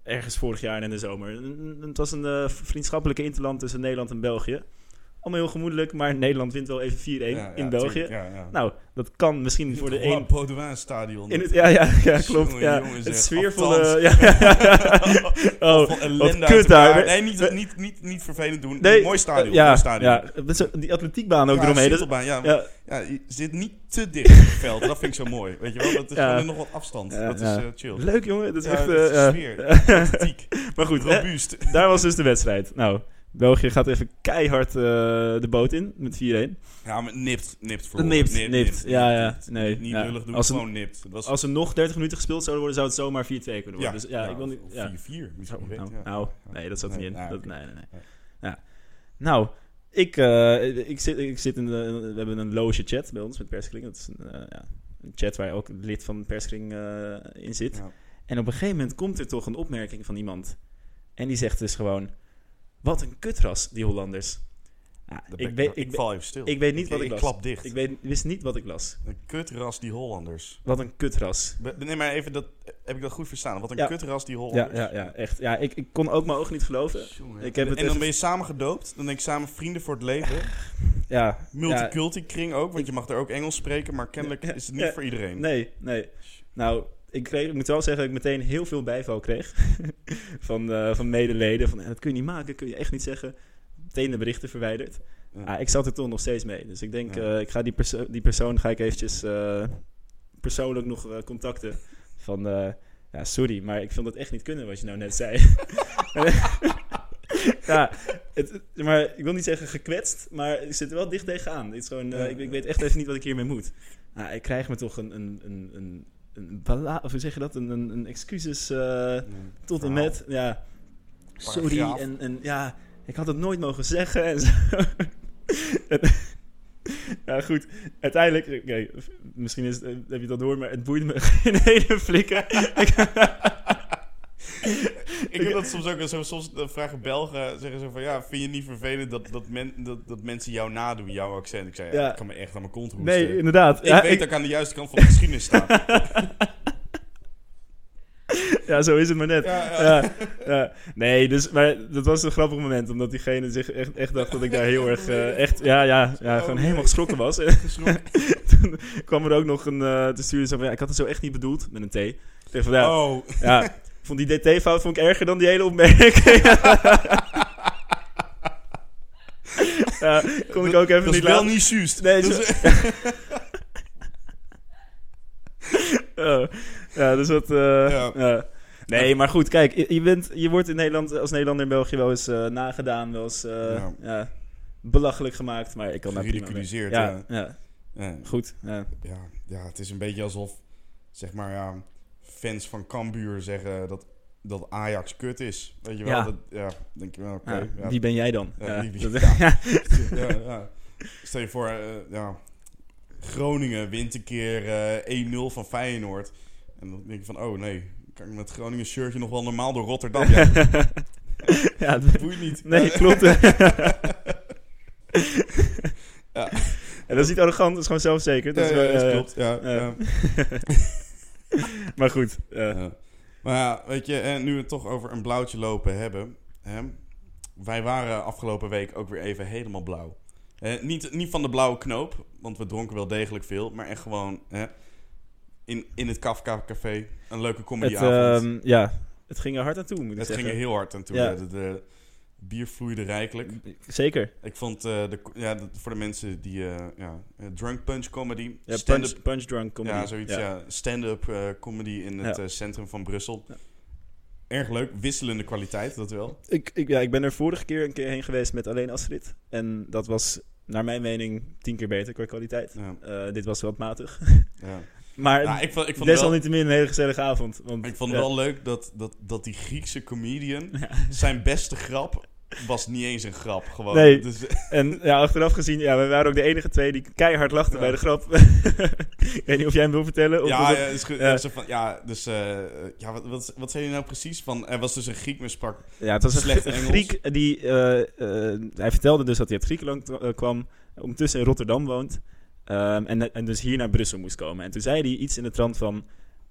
S2: ergens vorig jaar in de zomer. N- n- Het was een eh, vriendschappelijke interland tussen Nederland en België. Allemaal heel gemoedelijk, maar Nederland wint wel even 4-1
S3: ja, ja,
S2: in België.
S3: tuurlijk, ja, ja.
S2: Nou, dat kan misschien voor de
S3: Gewoon
S2: een
S3: Baudouin stadion.
S2: in het, ja, ja, ja, klopt.
S3: Jongen,
S2: ja.
S3: jongen,
S2: het
S3: zeg,
S2: sfeervolle.
S3: althans.
S2: Ja, Oh,
S3: Wat
S2: wat
S3: ellende
S2: kut
S3: uit elkaar.
S2: daar.
S3: Nee, niet,
S2: We-
S3: niet, niet, niet vervelend doen.
S2: Nee,
S3: mooi stadion.
S2: ja,
S3: mooi stadion.
S2: ja. Met zo- die atletiekbaan ook
S3: Ja,
S2: eromheen. Dat-
S3: Sintelbaan, ja,
S2: ja,
S3: ja, je zit niet te dicht op het veld. Dat vind ik zo mooi. Weet je wel? Dat is
S2: Ja.
S3: gewoon nog wat afstand.
S2: Ja,
S3: dat
S2: ja.
S3: is eh, chill.
S2: leuk jongen, dat is
S3: Ja,
S2: echt...
S3: het is
S2: eh,
S3: sfeer.
S2: ja.
S3: Tactiek.
S2: maar goed, hè,
S3: Robuust.
S2: daar was dus de wedstrijd. Nou, België gaat even keihard eh, de boot in met 4-1.
S3: Ja, maar nipt. Nipt voor
S2: Nipt, nipt. Ja, ja. Nee,
S3: Niet
S2: ja.
S3: lullig doen,
S2: Als het-
S3: gewoon nipt. Dat was
S2: Als er nog 30 minuten gespeeld zouden worden, zou het zomaar 4-2 kunnen worden.
S3: ja, Nou,
S2: dus ja, ik wil niet...
S3: of
S2: Ja.
S3: 4-4 misschien.
S2: Zo,
S3: weet
S2: nou,
S3: je, ja.
S2: nou, nee, dat zat er
S3: Nee,
S2: niet in.
S3: nou,
S2: dat,
S3: oké.
S2: nee, nee, nee.
S3: Ja.
S2: Ja. Nou, ik, eh, ik, zit, ik zit in de... We hebben een loge chat bij ons met Perskring. Dat is een, eh, ja, een chat waar ook een lid van Perskring eh, in zit.
S3: Ja.
S2: En op een gegeven moment komt er toch een opmerking van iemand. En die zegt dus gewoon... Wat een kutras, die Hollanders. Nou,
S3: Dat ben
S2: ik, weet,
S3: ik
S2: ik,
S3: val even stil.
S2: ik weet niet wat ik, las.
S3: klap dicht.
S2: Ik weet, wist niet wat ik las.
S3: Een kutras die Hollanders.
S2: Wat een kutras.
S3: Be- Nee, maar even dat... Heb ik dat goed verstaan? Wat een
S2: Ja.
S3: kutras die
S2: Ja,
S3: Hollanders.
S2: ja, ja, echt. Ja, ik, ik kon ook mijn ogen niet geloven.
S3: Jongen.
S2: Ik heb het
S3: en dan
S2: even-
S3: ben je samen gedoopt. Dan denk ik samen vrienden voor het leven.
S2: Ja, ja,
S3: Multiculti kring ook, want je mag er ook Engels spreken, maar kennelijk
S2: Ja,
S3: is het
S2: ja,
S3: niet voor iedereen.
S2: Nee, nee. Nou, ik, kreeg, ik moet wel zeggen dat ik meteen heel veel bijval kreeg van, eh, van medeleden. Van, eh, dat kun je niet maken, dat kun je echt niet zeggen. Meteen de berichten verwijderd.
S3: Ja.
S2: Ah, ik zat er toch nog steeds mee. Dus ik denk,
S3: Ja.
S2: eh, ik ga die, perso- die persoon ga ik eventjes eh, persoonlijk nog eh, contacten. Van, eh, ja, sorry, maar ik vond dat echt niet kunnen wat je nou net zei. ja, het, maar ik wil niet zeggen gekwetst, maar ik zit er wel dicht tegenaan. Het is gewoon, eh,
S3: Ja.
S2: ik, ik weet echt even niet wat ik hiermee moet. Nou, ik krijg me toch een, een, een, een, een bala, of hoe zeg je dat, een, een, een excuses eh, tot en
S3: Verhaal.
S2: met. Ja, sorry
S3: Paragraaf.
S2: en, en ja, ik had het nooit mogen zeggen en zo. En- ja, goed. Uiteindelijk, oké, misschien is, het- heb je dat door, maar het boeit me geen hele flikker.
S3: Ik heb dat soms ook. Zo, soms eh, vragen Belgen, zeggen ze van... Ja, vind je niet vervelend dat, dat, men, dat, dat mensen jou nadoen, jouw accent? Ik zei, ja,
S2: Ja.
S3: ik kan me echt aan mijn kont roesten.
S2: nee, inderdaad.
S3: eh, ik
S2: ja,
S3: weet dat ik aan de juiste kant van de geschiedenis sta. Ja,
S2: ja, zo is het maar net.
S3: ja.
S2: ja, ja. Nee, dus, maar dat was een grappig moment. Omdat diegene zich echt, echt dacht dat ik daar heel erg... eh, echt, ja, ja, ja,
S3: Oh,
S2: gewoon
S3: nee.
S2: helemaal geschrokken was.
S3: Geschrokken.
S2: Toen kwam er ook nog een... eh te sturen zo van, ja, ik had het zo echt niet bedoeld. Met een T. Ik dacht van, ja,
S3: Oh,
S2: ja, ik vond die DT-fout vond ik erger dan die hele opmerking. ja, kon ik ook even
S3: dat is
S2: niet
S3: wel
S2: laten.
S3: niet juist.
S2: Nee,
S3: Dat
S2: zo-
S3: is-
S2: Oh, ja, dus dat... eh,
S3: Ja.
S2: ja. Nee, maar goed, kijk, je, je bent, je wordt in Nederland, als Nederlander in België wel eens eh, nagedaan, wel eens eh,
S3: Ja.
S2: ja, belachelijk gemaakt, maar ik kan daar prima mee.
S3: Geridiculiseerd,
S2: Ja,
S3: ja.
S2: ja,
S3: Ja,
S2: goed. Ja.
S3: ja, ja, het is een beetje alsof, zeg maar, ja, fans van Cambuur zeggen dat, dat Ajax kut is. Weet je wel?
S2: Ja.
S3: Dat, ja, denk je wel, oké.
S2: Ja,
S3: ja.
S2: Wie ben jij dan?
S3: Ja, wie- wie-
S2: dat-
S3: Ja, ja. Stel je voor, eh, ja, Groningen wint een keer eh 1-0 van Feyenoord. En dan denk je van, oh nee, kan ik met Groningen shirtje nog wel normaal door Rotterdam? Ja, dat
S2: ja, dat-
S3: boeit niet.
S2: nee,
S3: Ja,
S2: klopt. En dat is niet arrogant, dat is gewoon zelfverzekerd. Dat is
S3: ja, ja,
S2: gewoon,
S3: dat
S2: eh,
S3: klopt. Ja,
S2: eh.
S3: ja.
S2: Maar goed, eh,
S3: Ja. Maar ja, weet je, eh, nu we het toch over een blauwtje lopen hebben. Hè, wij waren afgelopen week ook weer even helemaal blauw. Eh, niet, niet van de blauwe knoop, want we dronken wel degelijk veel. Maar echt gewoon hè, in, in het Kafka Café een leuke
S2: het,
S3: comedyavond.
S2: ehm, ja, het ging er hard aan toe, moet ik
S3: het ging
S2: zeggen.
S3: er heel hard aan toe.
S2: Ja.
S3: hè. De, de bier vloeide rijkelijk.
S2: Zeker.
S3: Ik vond, eh, de, ja, dat- voor de mensen die... eh, ja, eh, drunk punch comedy.
S2: Ja,
S3: stand-up
S2: punch, punch drunk comedy.
S3: ja, zoiets. Ja. Stand-up eh, comedy in het
S2: Ja.
S3: eh, centrum van Brussel.
S2: Ja.
S3: Erg leuk. Wisselende kwaliteit, dat wel.
S2: Ik, ik, ja, ik ben er vorige keer een keer heen geweest met alleen Astrid. En dat was, naar mijn mening, tien keer beter qua kwaliteit.
S3: Ja,
S2: Eh, dit was wat matig.
S3: ja.
S2: Maar
S3: Nou, ik vond, ik vond, wel,
S2: desalniettemin een hele gezellige avond. Want,
S3: ik vond
S2: ja,
S3: wel leuk dat, dat, dat die Griekse comedian... zijn beste grap was niet eens een grap. Gewoon.
S2: Nee.
S3: Dus,
S2: En ja, achteraf gezien, ja, we waren ook de enige twee die keihard lachten
S3: Ja.
S2: bij de grap. ik weet niet of jij hem wil vertellen. Of
S3: ja,
S2: dat-
S3: ja, is goed.
S2: ja.
S3: Ja, zo van, ja, dus eh, ja, wat, wat, wat zei je nou precies? Van, er was dus een Griek, maar sprak
S2: Ja, het was een,
S3: Slecht
S2: Grie- een
S3: Engels.
S2: Griek die. eh, eh, hij vertelde dus dat hij uit Griekenland eh, kwam, ondertussen in Rotterdam woont. ehm, en, en dus hier naar Brussel moest komen. En toen zei hij iets in de trant van.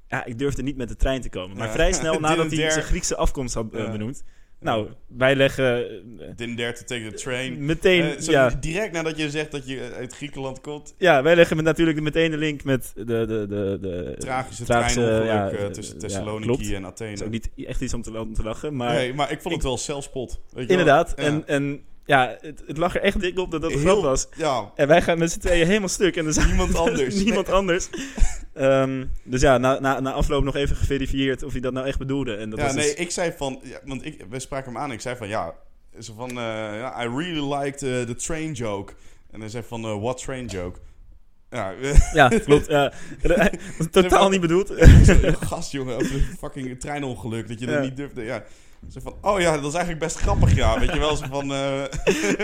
S2: Ja, ik durfde niet met de trein te komen. Maar
S3: Ja.
S2: vrij snel nadat hij
S3: Didn't
S2: zijn
S3: dare.
S2: Griekse afkomst had eh,
S3: Ja.
S2: benoemd. Nou, wij leggen eh,
S3: didn't dare to take the train.
S2: meteen.
S3: Eh, zo
S2: ja,
S3: Direct nadat je zegt dat je eh, uit Griekenland komt...
S2: ja, wij leggen met, natuurlijk meteen de link met de. de, de, de
S3: Tragische,
S2: tragische,
S3: treinongeluk
S2: ja,
S3: eh,
S2: eh,
S3: tussen
S2: ja,
S3: Thessaloniki
S2: klopt.
S3: en Athene.
S2: Dat is ook niet echt iets om te, om te lachen. Maar
S3: nee, maar ik vond het wel zelfspot. Weet je wel?
S2: inderdaad.
S3: Ja.
S2: En, en ja, het, het lag er echt dik op dat dat een
S3: Heel-
S2: grap was.
S3: Ja,
S2: En wij gaan met z'n tweeën helemaal stuk. En er is
S3: niemand anders.
S2: niemand anders. Ehm, dus ja, na, na, na afloop nog even geverifieerd of hij dat nou echt bedoelde. En dat
S3: ja,
S2: was
S3: nee,
S2: dus-
S3: ik zei van... Ja, want ik, we spraken hem aan en ik zei van... Ja, zo van... eh, ja, I really liked eh, the train joke. En hij zei van... eh, what train joke? Ja,
S2: ja, klopt. ja. totaal niet bedoeld.
S3: gast jongen, over een fucking treinongeluk. Dat je dat
S2: Ja.
S3: niet durfde. Ja. Zo van, oh ja, dat is eigenlijk best grappig, ja. Weet je wel, zo van... eh,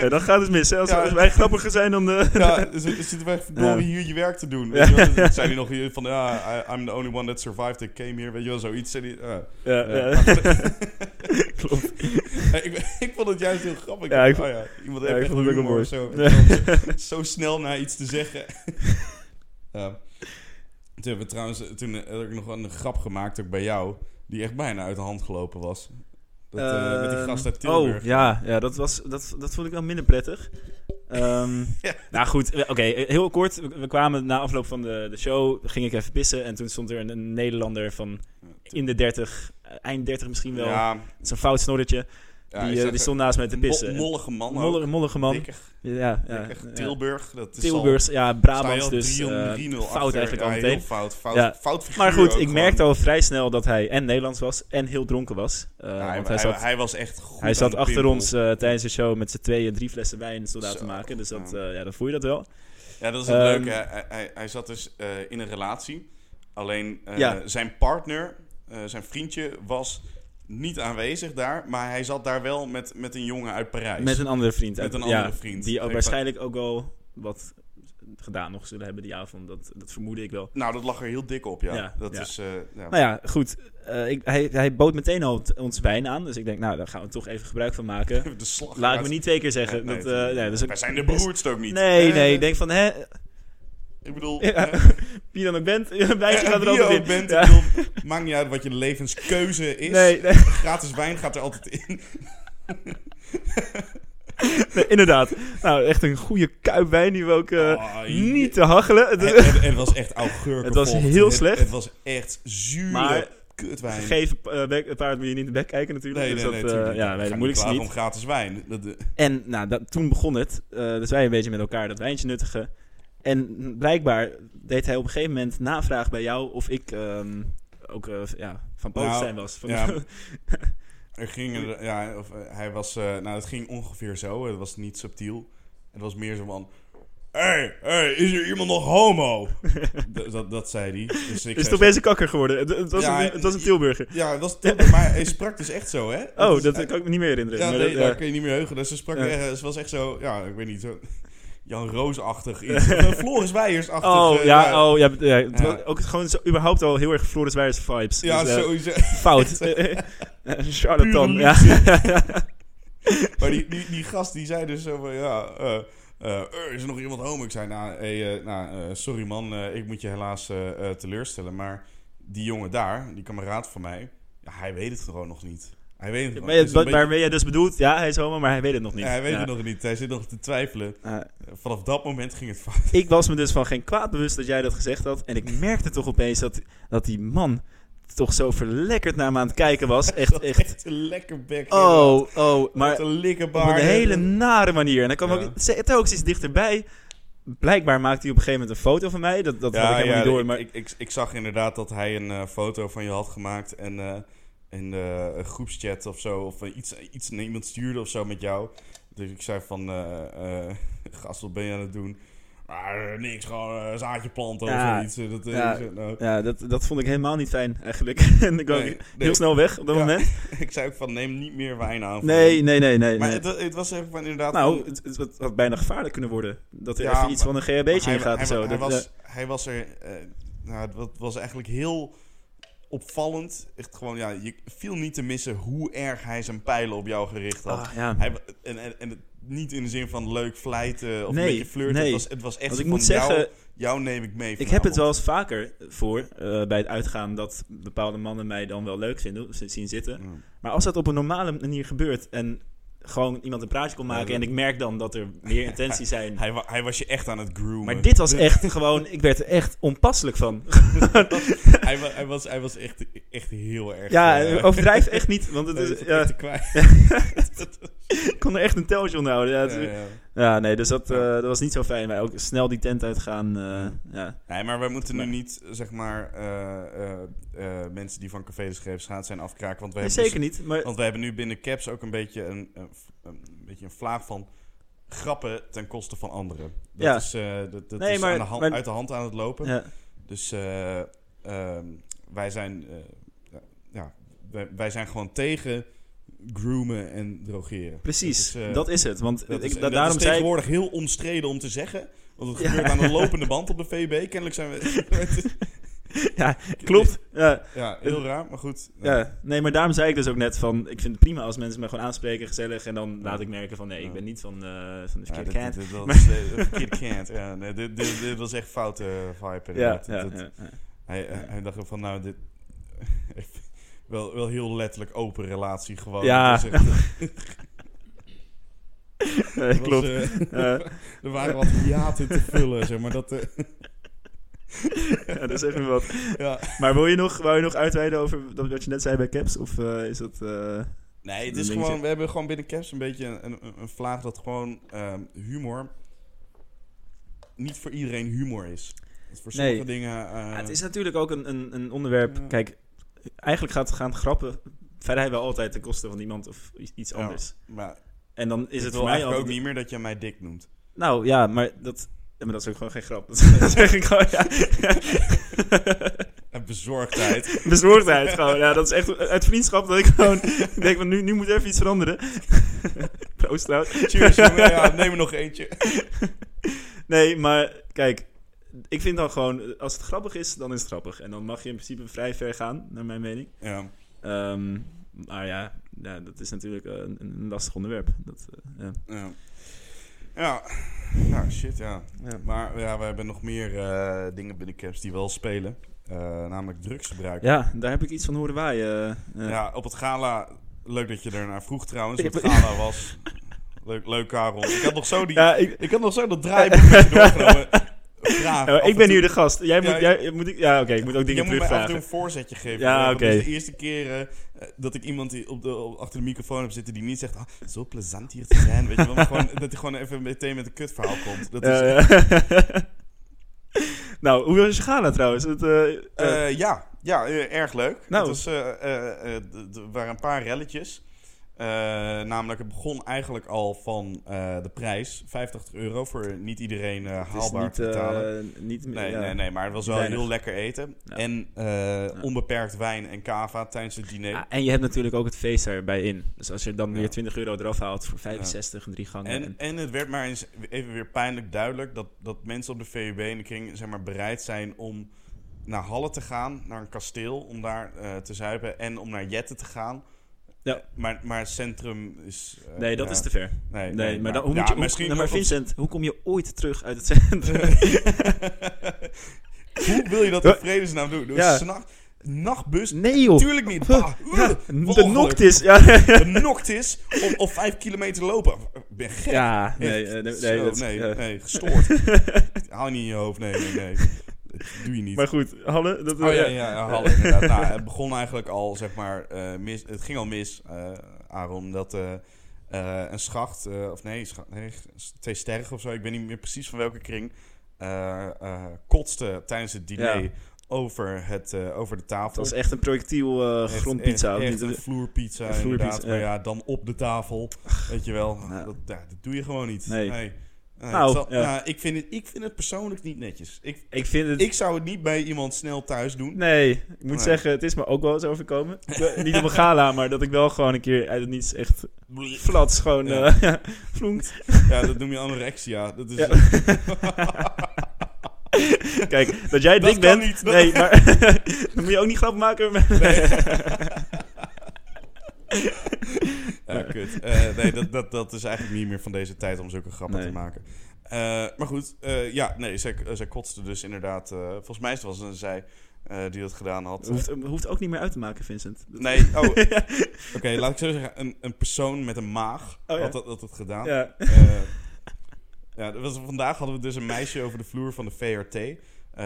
S2: Ja, dat gaat dus mis. hè. Als
S3: Ja.
S2: als wij grappiger zijn dan de...
S3: ja, er zit- er zitten wij verdorie hier je werk te doen. Weet je wel? Dat zei hij nog hier van, ja, I- I'm the only one that survived that came here. Weet je wel, zoiets. Zei hij, eh, ja.
S2: Ja,
S3: Ja.
S2: ja. klopt.
S3: Ja, ik, ik vond het juist heel grappig.
S2: Ja, ik
S3: oh,
S2: vond-
S3: ja. Iemand
S2: ja,
S3: heeft
S2: ik
S3: echt
S2: vond het ook
S3: humor
S2: wel
S3: of zo.
S2: mooi.
S3: zo snel naar iets te zeggen. ja. Toen hebben we trouwens toen heb ik nog wel een grap gemaakt ook bij jou. Die echt bijna uit de hand gelopen was. Dat, eh, met die gast uit
S2: Ehm,
S3: Tilburg.
S2: Oh, ja. ja dat, was, dat, dat vond ik wel minder prettig. Ehm, Nou goed, we- oké, heel kort. We, we kwamen na afloop van de, de show, ging ik even pissen. En toen stond er een, een Nederlander van in de 30, eh, eind 30 misschien wel.
S3: Ja,
S2: Zo'n fout snorretje.
S3: ja,
S2: die,
S3: ik
S2: eh,
S3: zeg,
S2: die stond naast mij te
S3: een
S2: pissen.
S3: mo- mollige man ook.
S2: Mollige, mollige man.
S3: Dikke,
S2: ja, ja,
S3: dikke
S2: ja.
S3: Tilburg. Dat is
S2: Tilburgs, ja,
S3: al, sta je
S2: Brabants
S3: al
S2: dus.
S3: 3-0,
S2: eh,
S3: 3-0
S2: fout
S3: achter.
S2: eigenlijk al
S3: Ja, heel
S2: meteen.
S3: Fout, fout,
S2: Ja.
S3: fout figuur
S2: Maar goed,
S3: ook
S2: ik
S3: gewoon.
S2: merkte al vrij snel dat hij en Nederlands was en heel dronken was. Eh,
S3: Ja,
S2: want
S3: hij,
S2: hij
S3: hij,
S2: zat, hij,
S3: hij was echt goed aan
S2: zat
S3: de
S2: achter
S3: pimpel.
S2: ons eh, tijdens de show met z'n tweeën drie flessen wijn soldaat te
S3: Zo,
S2: maken. Dus dat,
S3: ja.
S2: eh, ja, dan voel je dat wel.
S3: Ja, dat is het
S2: Ehm,
S3: leuke. Hij, hij, hij zat dus eh, in een relatie. Alleen eh,
S2: Ja.
S3: zijn partner, eh, zijn vriendje, was niet aanwezig daar. Maar hij zat daar wel met, met een jongen uit Parijs.
S2: Met een andere vriend.
S3: Met
S2: uit-
S3: een
S2: ja,
S3: andere vriend.
S2: Die ook
S3: Ik
S2: waarschijnlijk ook wel wat gedaan nog zullen hebben die avond. Dat, dat vermoedde ik wel.
S3: Nou, dat lag er heel dik op, ja.
S2: Ja,
S3: dat
S2: ja.
S3: is... eh, ja.
S2: Nou ja, goed. Eh, ik, hij, hij bood meteen al t- ons wijn aan. Dus ik denk, nou, daar gaan we toch even gebruik van maken.
S3: De slag
S2: Laat ik me niet twee keer zeggen.
S3: Nee,
S2: dat,
S3: nee,
S2: eh, nee, dat is ook
S3: Wij zijn de
S2: best-
S3: beroerdste ook niet.
S2: Nee,
S3: Eh,
S2: nee. Ik denk van, hè,
S3: Ik bedoel...
S2: Ja.
S3: eh,
S2: wie dan ook bent, blijf je
S3: eh,
S2: gaat er
S3: wie je
S2: altijd in.
S3: ook bent,
S2: Ja.
S3: ik bedoel, maakt niet uit wat je levenskeuze is.
S2: Nee, nee,
S3: Gratis wijn gaat er altijd in.
S2: nee, inderdaad. Nou, echt een goede kuip wijn die we ook eh,
S3: Oh, je-
S2: niet te hachelen. Het-
S3: Het, het- het was echt augurkenvocht.
S2: Het was heel
S3: Het-
S2: slecht.
S3: Het, was echt zure
S2: Maar-
S3: kutwijn.
S2: Geef eh, bek- paard moet je niet in de bek kijken natuurlijk.
S3: Nee, nee,
S2: dus
S3: nee,
S2: dat, eh,
S3: tuurlijk.
S2: ja,
S3: Ik
S2: nee,
S3: ga
S2: dat moeilijkste
S3: klagen
S2: niet.
S3: om gratis wijn. Dat, eh,
S2: En nou, dat, toen begon het. Eh, dus wij een beetje met elkaar dat wijntje nuttigen. En blijkbaar deed hij op een gegeven moment navraag bij jou of ik ehm, ook eh, ja, van
S3: Nou,
S2: Palestijn was. Van,
S3: ja. er ging, er- ja, of, eh, hij was, eh, nou, het ging ongeveer zo. Het was niet subtiel. Het was meer zo van... hey, hey, is er iemand nog homo? dat, dat, dat zei hij. Dus ik
S2: is het
S3: zei
S2: opeens een kakker geworden? Het, het was,
S3: Ja,
S2: een, het was een Tilburger.
S3: zo- Ja, dat was het. Maar hij sprak dus echt zo, hè?
S2: Oh,
S3: is-
S2: dat kan ik me niet meer herinneren.
S3: Ja,
S2: Maar
S3: nee,
S2: dat, eh,
S3: daar
S2: ja.
S3: kun je niet meer heugen. Dus ze sprak
S2: Ja.
S3: echt, ze was echt zo, ja, ik weet niet, zo Jan Roos-achtig iets. Of, eh, Floris Weijers-achtig.
S2: Oh,
S3: eh,
S2: ja, oh, ja, ja, het
S3: Ja.
S2: was Ook gewoon zo, überhaupt al heel erg Floris Weijers vibes.
S3: Ja,
S2: Dus, eh,
S3: sowieso.
S2: Fout. Eh, Charlatan,
S3: Pure
S2: ja.
S3: Maar die, die, die gast die zei dus zo van, ja, eh, eh, eh, is er nog iemand homo? Ik zei, nou, hey, eh, nou eh, sorry man, eh, ik moet je helaas eh, eh, teleurstellen. Maar die jongen daar, die kameraad van mij, ja, hij weet het gewoon nog niet. Hij weet het nog
S2: Maar ja,
S3: Het is een
S2: wat-
S3: beetje-
S2: waarmee jij dus bedoelt, ja, hij is homo, maar hij weet het nog niet.
S3: Ja, hij weet het
S2: Ja.
S3: nog niet. Hij zit nog te twijfelen.
S2: Eh,
S3: Vanaf dat moment ging het fout.
S2: ik was me dus van geen kwaad bewust dat jij dat gezegd had. En
S3: Mm.
S2: ik merkte toch opeens dat, dat die man toch zo verlekkerd naar me aan het kijken was. Echt, echt.
S3: Echt een lekker bek.
S2: Oh, oh. Maar
S3: Met een
S2: op
S3: likkenbaar.
S2: een hele nare manier. En dan kwam
S3: Ja.
S2: ook ze- het ook iets dichterbij. Blijkbaar maakte hij op een gegeven moment een foto van mij. Dat, dat had ik helemaal niet door.
S3: ik-
S2: Maar
S3: ik, ik, ik zag inderdaad dat hij een eh, foto van je had gemaakt en eh, in de eh, groepschat of zo, of eh, iets, iets naar iemand stuurde of zo met jou. Dus ik zei van, eh, eh, gast, wat ben je aan het doen? Maar niks, gewoon eh, zaadje planten
S2: Ja,
S3: of zoiets. Eh, Dat, eh,
S2: ja.
S3: zo- nou.
S2: ja, dat, dat vond ik helemaal niet fijn eigenlijk. en ik kwam
S3: Nee, nee.
S2: heel snel weg op dat
S3: Ja.
S2: moment.
S3: ik zei ook van, neem niet meer wijn aan. voor
S2: Nee,
S3: hem.
S2: nee, nee, nee.
S3: Maar
S2: nee.
S3: Het, het was even van inderdaad...
S2: Nou,
S3: van-
S2: het, het- het had bijna gevaarlijk kunnen worden. Dat er
S3: Ja,
S2: even iets
S3: maar-
S2: van een GHB'tje
S3: hij-
S2: in gaat
S3: hij,
S2: en zo.
S3: Hij,
S2: Dat-
S3: was, hij was er... eh, nou, het wa- het was eigenlijk heel opvallend. Echt gewoon, ja, je viel niet te missen hoe erg hij zijn pijlen op jou gericht had.
S2: Ah, ja.
S3: Hij, wa- en, en, en het niet in de zin van leuk fluiten of
S2: Nee,
S3: een beetje flirten.
S2: nee.
S3: Het, was, het was echt
S2: Want
S3: van
S2: ik moet
S3: jou,
S2: zeggen,
S3: jou neem ik mee
S2: Ik heb het wel eens vaker voor eh, bij het uitgaan dat bepaalde mannen mij dan wel leuk vinden, of ze zien zitten.
S3: vanavond.
S2: Maar als dat op een normale manier gebeurt en gewoon iemand een praatje kon maken
S3: Ja,
S2: en ik merk dan dat er meer intenties zijn.
S3: Hij, wa- hij was je echt aan het groomen.
S2: Maar dit was echt gewoon, ik werd er echt onpasselijk van.
S3: hij, wa- hij was, hij was echt, echt heel erg...
S2: Ja,
S3: eh,
S2: overdrijf echt niet, want het
S3: hij was
S2: is,
S3: echt
S2: ja,
S3: te kwijt.
S2: ik kon er echt een teltje onder houden. Ja, het-
S3: Ja, ja.
S2: ja, nee, dus dat, eh, dat was niet zo fijn. Wij ook snel die tent uitgaan. eh, ja.
S3: Nee, maar wij moeten nu
S2: Maar-
S3: niet, zeg maar, eh, eh, eh, mensen die van Café de Scheep schaat zijn afkraken. Want we,
S2: Nee,
S3: hebben, dus-
S2: zeker niet, maar
S3: want we hebben nu binnen Caps ook een beetje een, een, een beetje een vlaag van grappen ten koste van anderen. Dat
S2: Ja.
S3: is, eh, dat, dat
S2: Nee,
S3: is
S2: maar-
S3: aan de hand,
S2: maar-
S3: uit de hand aan het lopen.
S2: ja.
S3: Dus eh, ehm, wij zijn, eh, ja, ja, wij, wij zijn gewoon tegen groomen en drogeren.
S2: precies,
S3: Dat is, eh,
S2: dat is het. Want
S3: dat
S2: ik-
S3: is,
S2: da-
S3: dat
S2: daarom
S3: is
S2: zei ik,
S3: tegenwoordig heel omstreden om te zeggen. Want het
S2: Ja.
S3: gebeurt aan de lopende band op de VB. Kennelijk zijn we...
S2: ja, klopt. Ja,
S3: Ja, heel raar, maar goed.
S2: Ja, nee, maar daarom zei ik dus ook net van... ik vind het prima als mensen me gewoon aanspreken, gezellig... en dan laat ik merken van nee, ik ben niet van, eh, van de
S3: Ja,
S2: verkeerde
S3: dit-
S2: kant.
S3: dit- dit was- eh, Kid Kent. Ja, nee, dit, dit, dit was echt foute vibe.
S2: Ja,
S3: inderdaad.
S2: ja,
S3: Dat-
S2: ja, ja.
S3: Hij, hij dacht ook van, nou, dit... wel, wel heel letterlijk open relatie gewoon.
S2: Ja.
S3: Dat is echt-
S2: Nee,
S3: was,
S2: klopt.
S3: eh,
S2: Eh,
S3: er waren wat hiaten te vullen, zeg maar. Dat, eh,
S2: ja, dat is even wat.
S3: ja.
S2: Maar wil je nog, wou je nog uitweiden over dat wat je net zei bij Caps? Of eh, is dat... eh,
S3: Nee, het
S2: Dan
S3: is
S2: denk
S3: gewoon,
S2: je-
S3: we hebben gewoon binnen Caps een beetje een, een, een vlaag dat gewoon ehm, humor niet voor iedereen humor is. Dat voor
S2: Nee.
S3: sommige dingen. eh,
S2: Ja, het is natuurlijk ook een, een, een onderwerp.
S3: Ja.
S2: Kijk, eigenlijk gaat, gaan grappen vrijwel altijd ten koste van iemand of i- iets
S3: Ja.
S2: anders.
S3: maar
S2: En dan is het
S3: voor
S2: voor
S3: mij
S2: mij
S3: eigenlijk
S2: altijd...
S3: ook niet meer dat je mij dik noemt.
S2: Nou ja, maar dat, ja, maar dat is ook gewoon geen grap. Dat zeg ik gewoon, ja.
S3: En bezorgdheid.
S2: Bezorgdheid gewoon. Ja, dat is echt uit vriendschap dat ik gewoon denk van nu, nu moet even iets veranderen. Proost trouwens.
S3: Cheers, jongen. Ja, neem er nog eentje.
S2: Nee, maar kijk, ik vind dan gewoon, als het grappig is, dan is het grappig. En dan mag je in principe vrij ver gaan, naar mijn mening.
S3: Ja.
S2: Ehm, maar ja, ja, dat is natuurlijk eh, een, een lastig onderwerp. Dat, eh, ja.
S3: Ja. ja. Nou, shit, ja.
S2: Ja.
S3: Maar ja, we hebben nog meer eh, dingen binnen Caps die wel spelen. Eh, namelijk drugsgebruik.
S2: Ja, daar heb ik iets van horen waaien. eh, eh.
S3: Ja, op het gala. Leuk dat je ernaar vroeg trouwens.
S2: Ik
S3: Op het
S2: ben-
S3: gala was. Leuk, leuk Karel. Ik had nog zo die.
S2: Ja, ik,
S3: Ik had nog zo dat draaiboek met je doorgenomen. Vraag.
S2: eh,
S3: af en
S2: ik ben
S3: toe.
S2: hier de gast. Jij moet,
S3: Ja,
S2: jij, moet ik, ja oké, ik moet ook
S3: Jij
S2: dingen
S3: moet mij af en toe een
S2: terugvragen.
S3: voorzetje geven.
S2: Ja,
S3: Eh, want
S2: oké.
S3: dit is de eerste keer eh, dat ik iemand die op de, op- achter de microfoon heb zitten die niet zegt... Ah, zo plezant hier te zijn, weet je wel. Maar gewoon, dat hij gewoon even meteen met een kutverhaal komt. Dat is,
S2: Ja, ja. Eh,
S3: dus-
S2: nou, hoe was je gala trouwens? Het, eh, eh,
S3: Eh, ja, ja eh, erg leuk.
S2: Nou.
S3: Het was, eh, eh, eh, d- d- er waren een paar relletjes. Eh, namelijk, het begon eigenlijk al van eh, de prijs. 85 euro voor niet iedereen eh,
S2: het is
S3: haalbaar
S2: niet,
S3: te betalen.
S2: eh, niet meer.
S3: Nee,
S2: ja.
S3: nee, nee, maar het was wel
S2: Weinig.
S3: heel lekker eten.
S2: Ja.
S3: En eh, onbeperkt wijn en cava tijdens het diner.
S2: Ah, en je hebt natuurlijk ook het feest erbij in. Dus als je dan
S3: Ja.
S2: weer 20 euro eraf haalt voor 65 en drie gangen.
S3: en,
S2: en-
S3: en het werd maar eens even weer pijnlijk duidelijk dat, dat mensen op de VUB en de kring zeg maar, bereid zijn om naar Halle te gaan, naar een kasteel om daar eh, te zuipen en om naar Jette te gaan. Eh,
S2: Ja.
S3: Maar, maar het centrum is. eh,
S2: nee, dat
S3: ja,
S2: is te ver.
S3: Nee,
S2: Nee, maar dan, hoe
S3: ja,
S2: moet je, hoe-
S3: misschien
S2: nou, maar
S3: ook op-
S2: Vincent, hoe kom je ooit terug uit het centrum?
S3: Hoe wil je dat in vredesnaam doen? Door
S2: Ja.
S3: s'nacht- nachtbus?
S2: nee joh.
S3: Tuurlijk niet. Bah,
S2: Ja,
S3: oeh,
S2: de
S3: walgelijk.
S2: noctis. Ja,
S3: Benokt is om, of vijf kilometer lopen. Ik ben gek.
S2: ja nee, eh,
S3: Echt.
S2: nee, nee,
S3: Zo,
S2: dat-
S3: nee,
S2: ja.
S3: nee, gestoord. Haal je niet in je hoofd, nee, nee, nee. Dat doe je niet.
S2: Maar goed, eh, Halle, dat,
S3: oh ja,
S2: ja.
S3: ja, ja, Halle, inderdaad. Nou, het begon eigenlijk al, zeg maar, eh, mis, het ging al mis, eh Aaron, dat eh, eh, een schacht, eh, of nee, scha- nee, twee sterren of zo, ik weet niet meer precies van welke kring, eh, eh, kotste tijdens het diner
S2: Ja.
S3: over, het, eh, over de tafel.
S2: Het was echt een projectiel eh,
S3: Echt-
S2: grondpizza.
S3: Echt,
S2: of
S3: echt
S2: niet?
S3: een vloerpizza,
S2: Een vloerpizza,
S3: inderdaad. Maar
S2: ja.
S3: ja, dan op de tafel. Weet je wel,
S2: Ja.
S3: dat, ja, dat doe je gewoon niet.
S2: Nee.
S3: Nee,
S2: Nou,
S3: het zal-
S2: ja.
S3: nou, ik, vind het, ik vind het persoonlijk niet netjes. Ik,
S2: ik vind het...
S3: ik zou het niet bij iemand snel thuis doen.
S2: nee, ik moet
S3: Nee.
S2: zeggen, het is me ook wel eens overkomen. niet op een gala, maar dat ik wel gewoon een keer uit het niets echt flats gewoon
S3: Ja.
S2: eh, ja, vloenkt.
S3: Ja, dat noem je anorexia. Dat is,
S2: Ja. Kijk, dat jij
S3: Dat
S2: dik
S3: kan
S2: bent...
S3: niet, dat-
S2: Nee, maar dan moet je ook niet grap maken. met-
S3: Ja, kut. Eh, nee, dat, dat, dat is eigenlijk niet meer van deze tijd om zulke grappen
S2: Nee.
S3: te maken. Eh, maar goed, eh, ja, nee, zij, zij kotste dus inderdaad. eh, volgens mij was het zij eh, die dat gedaan had.
S2: hoeft, hoeft ook niet meer uit te maken, Vincent. Dat-
S3: Nee, oh. Oké, laat ik zo zeggen. Een, een persoon met een maag
S2: Oh, ja.
S3: had, dat, had het gedaan. Ja.
S2: Ja.
S3: ja, dat was, vandaag hadden we dus een meisje over de vloer van de VRT. Eh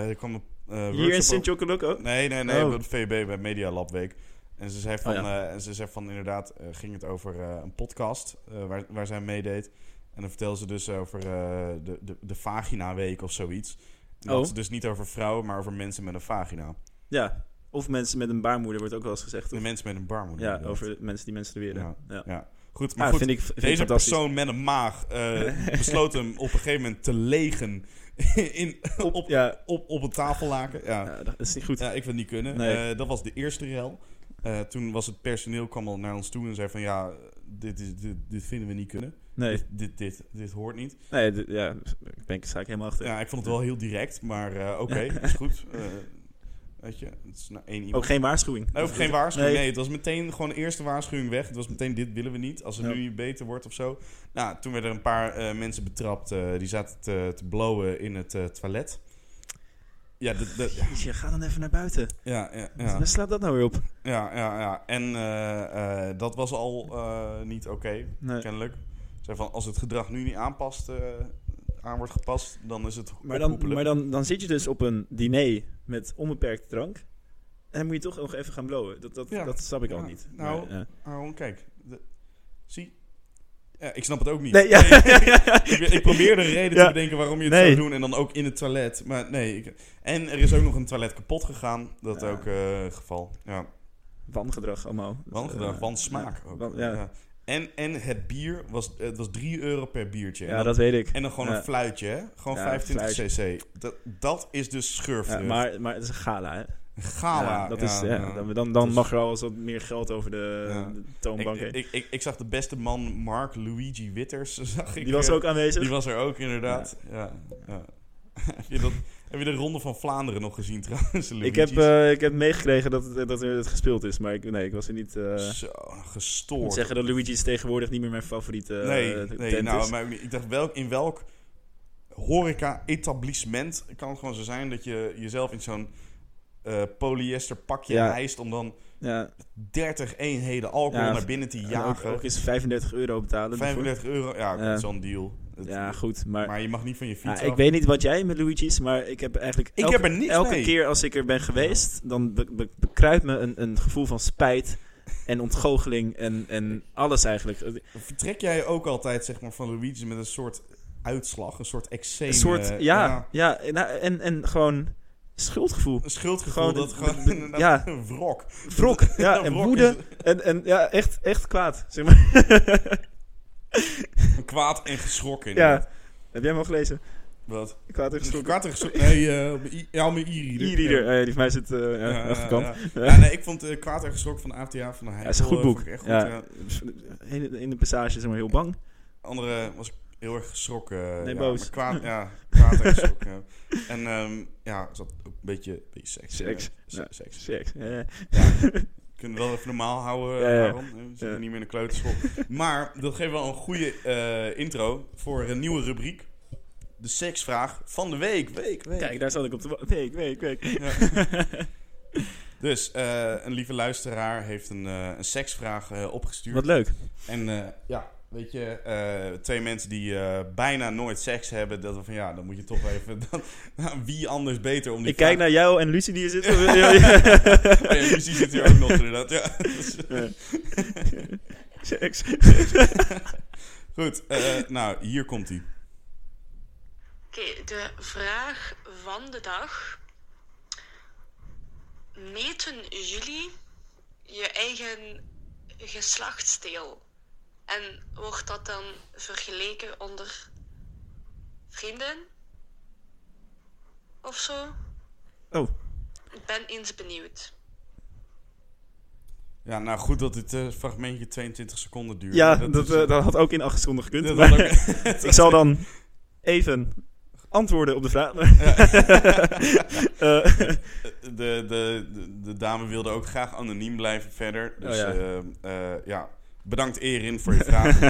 S3: er kwam een eh,
S2: Hier in
S3: workshop
S2: sint Jocoloco?
S3: over- Nee, nee, nee.
S2: Oh.
S3: Op de VB bij Media Lab Week. En ze zei van,
S2: Oh,
S3: eh, en ze zei van inderdaad, eh, ging het over eh, een podcast eh, waar, waar zij meedeed. En dan vertelde ze dus over eh, de, de, de vagina week of zoiets. En dat
S2: Oh.
S3: had ze dus niet over vrouwen, maar over mensen met een vagina.
S2: Ja. Of mensen met een baarmoeder wordt ook wel eens gezegd.
S3: De
S2: toch?
S3: mensen met een baarmoeder.
S2: Ja,
S3: inderdaad.
S2: over mensen die menstrueren. Ja. Ja.
S3: Ja. Goed, maar
S2: Ah,
S3: goed,
S2: vind ik, vind ik
S3: Deze
S2: fantastisch.
S3: persoon met een maag eh, besloot hem op een gegeven moment te legen in, op, op,
S2: Ja,
S3: op, een tafellaken. Ja.
S2: ja, dat is niet goed.
S3: Ja, ik wil het niet kunnen.
S2: Nee.
S3: Eh, dat was de eerste rel. Eh, toen was het personeel kwam al naar ons toe en zei van ja, dit, is, dit, dit vinden we niet kunnen.
S2: Nee,
S3: Dit, dit, dit, dit hoort niet.
S2: nee d- ja, ik ben ik sta ik helemaal achter.
S3: Ja, ik vond het wel heel direct, maar eh, oké, is goed. Eh, weet je, het is nou één iemand.
S2: Ook geen waarschuwing.
S3: Nee, of geen waarschuwing.
S2: Nee.
S3: Nee. het was meteen gewoon de eerste waarschuwing weg. Het was meteen dit willen we niet, als het
S2: Ja.
S3: nu niet beter wordt of zo. Nou, toen werden er een paar eh, mensen betrapt. eh, die zaten te, te blowen in het eh, toilet. Ja, dat, dat, ja,
S2: Jeetje, ga dan even naar buiten.
S3: ja, ja, ja,
S2: Waar slaat dat nou weer op?
S3: ja, ja, ja. En eh, eh, dat was al eh, niet oké,
S2: Nee.
S3: kennelijk. Zei van, als het gedrag nu niet aanpast, eh, aan wordt gepast, dan is het
S2: Maar, dan,
S3: opkoepelen.
S2: maar dan, dan zit je dus op een diner met onbeperkt drank. En dan moet je toch nog even gaan blowen. Dat, dat,
S3: Ja.
S2: dat snap ik al
S3: Ja,
S2: niet.
S3: nou,
S2: Maar, eh.
S3: Aaron, kijk. De- zie? Ja, ik snap het ook niet.
S2: Nee, ja.
S3: ik, ik probeer een reden
S2: Ja.
S3: te bedenken waarom je het
S2: Nee.
S3: zou doen en dan ook in het toilet. Maar nee. Ik, en er is ook nog een toilet kapot gegaan. Dat
S2: Ja.
S3: ook eh, geval. Ja.
S2: Wangedrag allemaal.
S3: Wangedrag,
S2: Eh,
S3: wansmaak ook.
S2: wan- ja.
S3: Ja. En, en het bier, was, het was 3 euro per biertje. en,
S2: Ja,
S3: dan,
S2: dat weet ik.
S3: en dan gewoon
S2: Ja.
S3: een fluitje, hè? Gewoon
S2: Ja,
S3: 25 cc. Dat, dat is dus
S2: Ja,
S3: schurfdruk.
S2: maar, maar het is een gala, hè?
S3: Gala.
S2: Ja, dat is, ja,
S3: ja.
S2: Dan, dan, dan
S3: Dus-
S2: mag er al eens wat meer geld over de,
S3: Ja.
S2: de
S3: Ik,
S2: toonbank heen.
S3: ik, ik, ik zag de beste man, Mark Luigi Witters, zag ik.
S2: Die was
S3: eh,
S2: ook aanwezig.
S3: Die was er ook, inderdaad. Ja. ja. heb, je dat, heb je de Ronde van Vlaanderen nog gezien trouwens?
S2: ik, heb,
S3: Luigi's?
S2: eh, ik heb meegekregen dat, het- dat er het gespeeld is, maar ik, nee, ik was er niet... eh,
S3: Zo,
S2: ik moet
S3: gestoord.
S2: zeggen dat Luigi's tegenwoordig niet meer mijn favoriete eh,
S3: nee, nee
S2: tent
S3: nou,
S2: is.
S3: maar ook niet. ik dacht, welk, in welk horeca-etablissement kan het gewoon zo zijn dat je jezelf in zo'n eh, polyester pakje
S2: Ja.
S3: hijst om dan
S2: Ja,
S3: 30 eenheden alcohol
S2: Ja,
S3: naar binnen te
S2: en ook,
S3: jagen?
S2: ook eens 35 euro betalen. ervoor.
S3: 35 euro, ja,
S2: Ja.
S3: zo'n deal. Het-
S2: Ja, goed, maar...
S3: maar je mag niet van je fiets
S2: ja,
S3: af.
S2: ik weet niet wat jij met Luigi's, maar ik heb eigenlijk
S3: Ik
S2: elke,
S3: heb er niks
S2: elke
S3: mee.
S2: keer als ik er ben geweest, dan be- be- bekruipt me een, een gevoel van spijt en ontgoocheling en, en alles eigenlijk.
S3: Vertrek jij ook altijd zeg maar, van Luigi met een soort uitslag, een soort eczeem?
S2: Een soort,
S3: eh,
S2: ja, ja, nou, en, en gewoon schuldgevoel.
S3: Een schuldgevoel,
S2: Gewoon
S3: dat
S2: een-
S3: gewoon
S2: een-
S3: inderdaad
S2: ja.
S3: een wrok.
S2: Wrok, ja,
S3: Een
S2: en
S3: wrok
S2: woede. En, en ja, echt, echt kwaad, zeg maar.
S3: is- Kwaad en geschrokken.
S2: ja.
S3: inderdaad.
S2: Heb jij hem al gelezen?
S3: Wat?
S2: Kwaad en geschrokken.
S3: Kwaad en geschrokken? Nee, eh, op mijn i- ja, mijn e-reader.
S2: E-reader, eh, die van mij zit eh ja,
S3: Ja, ja,
S2: achterkant.
S3: ja.
S2: Ja.
S3: Ja, nee, ik vond eh, Kwaad en geschrokken van de AFTA van de Heijl.
S2: Ja, is een goed
S3: eh,
S2: boek.
S3: vond ik echt goed,
S2: ja.
S3: ja.
S2: In, in de passage zeg maar heel bang.
S3: Andere was ik heel erg geschrokken. eh,
S2: Nee,
S3: ja,
S2: boos.
S3: maar kwaad, ja, kwaad en geschrokken. ja. En ehm, ja, er zat ook een beetje, een beetje seks.
S2: Seks,
S3: eh, se-
S2: ja.
S3: seks.
S2: Seks. eh.
S3: kunnen we wel even normaal houden,
S2: Ja, ja.
S3: Aaron. We zitten
S2: Ja.
S3: niet meer in de kleuterschool. maar dat geeft wel een goede eh, intro voor een nieuwe rubriek. De seksvraag van de week. Week, week.
S2: Kijk, daar zat ik op te wa- Week, week, week.
S3: Dus eh, een lieve luisteraar heeft een, eh, een seksvraag eh, opgestuurd.
S2: Wat leuk.
S3: En eh, ja, weet je, eh, twee mensen die eh, bijna nooit seks hebben. Dat we van ja, dan moet je toch even... Dan, nou, wie anders beter om die
S2: Ik kijk
S3: vraag-
S2: naar jou en Lucie die hier zit. Ja.
S3: Oh ja, Lucie zit hier ook nog inderdaad. Ja.
S2: Seks.
S3: Goed, eh, nou, hier komt hij.
S1: Oké, de vraag van de dag. Meten jullie je eigen geslachtsdeel? En wordt dat dan vergeleken onder vrienden? Of zo?
S2: Oh,
S1: Ik ben eens benieuwd.
S3: Ja, nou goed dat dit eh, fragmentje 22 seconden duurt.
S2: ja,
S3: Maar
S2: dat,
S3: is-
S2: eh, dat had ook in acht seconden gekund.
S3: dat
S2: maar
S3: had ook-
S2: ik zal dan even antwoorden op de vraag. Eh,
S3: de, de, de, de dame wilde ook graag anoniem blijven verder. Dus
S2: Oh ja.
S3: eh, eh, ja, bedankt Erin voor je vraag.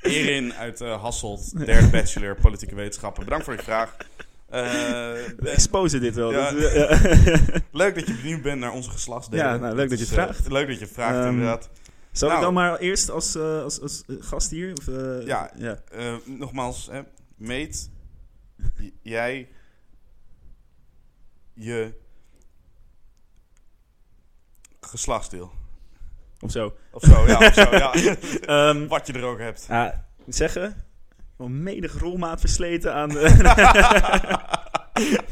S3: Erin uit eh, Hasselt, derde bachelor politieke wetenschappen. Bedankt voor je vraag. Eh,
S2: we exposen dit wel.
S3: Ja.
S2: Dat is- eh, ja.
S3: leuk dat je benieuwd bent naar onze geslachtsdelen.
S2: Ja, nou, leuk dat je
S3: Dus,
S2: het
S3: eh,
S2: vraagt.
S3: leuk dat je het vraagt,
S2: Ehm,
S3: inderdaad.
S2: Zal
S3: Nou.
S2: ik dan maar eerst als, eh, als, als eh, gast hier? Of, eh,
S3: Ja.
S2: ja.
S3: Eh, nogmaals, hè, meet j- jij je geslachtsdeel.
S2: Of zo.
S3: Of zo, ja. Of zo, ja.
S2: Ehm,
S3: Wat je er ook hebt.
S2: ah, ik moet zeggen, wel menig rolmaat versleten aan... de-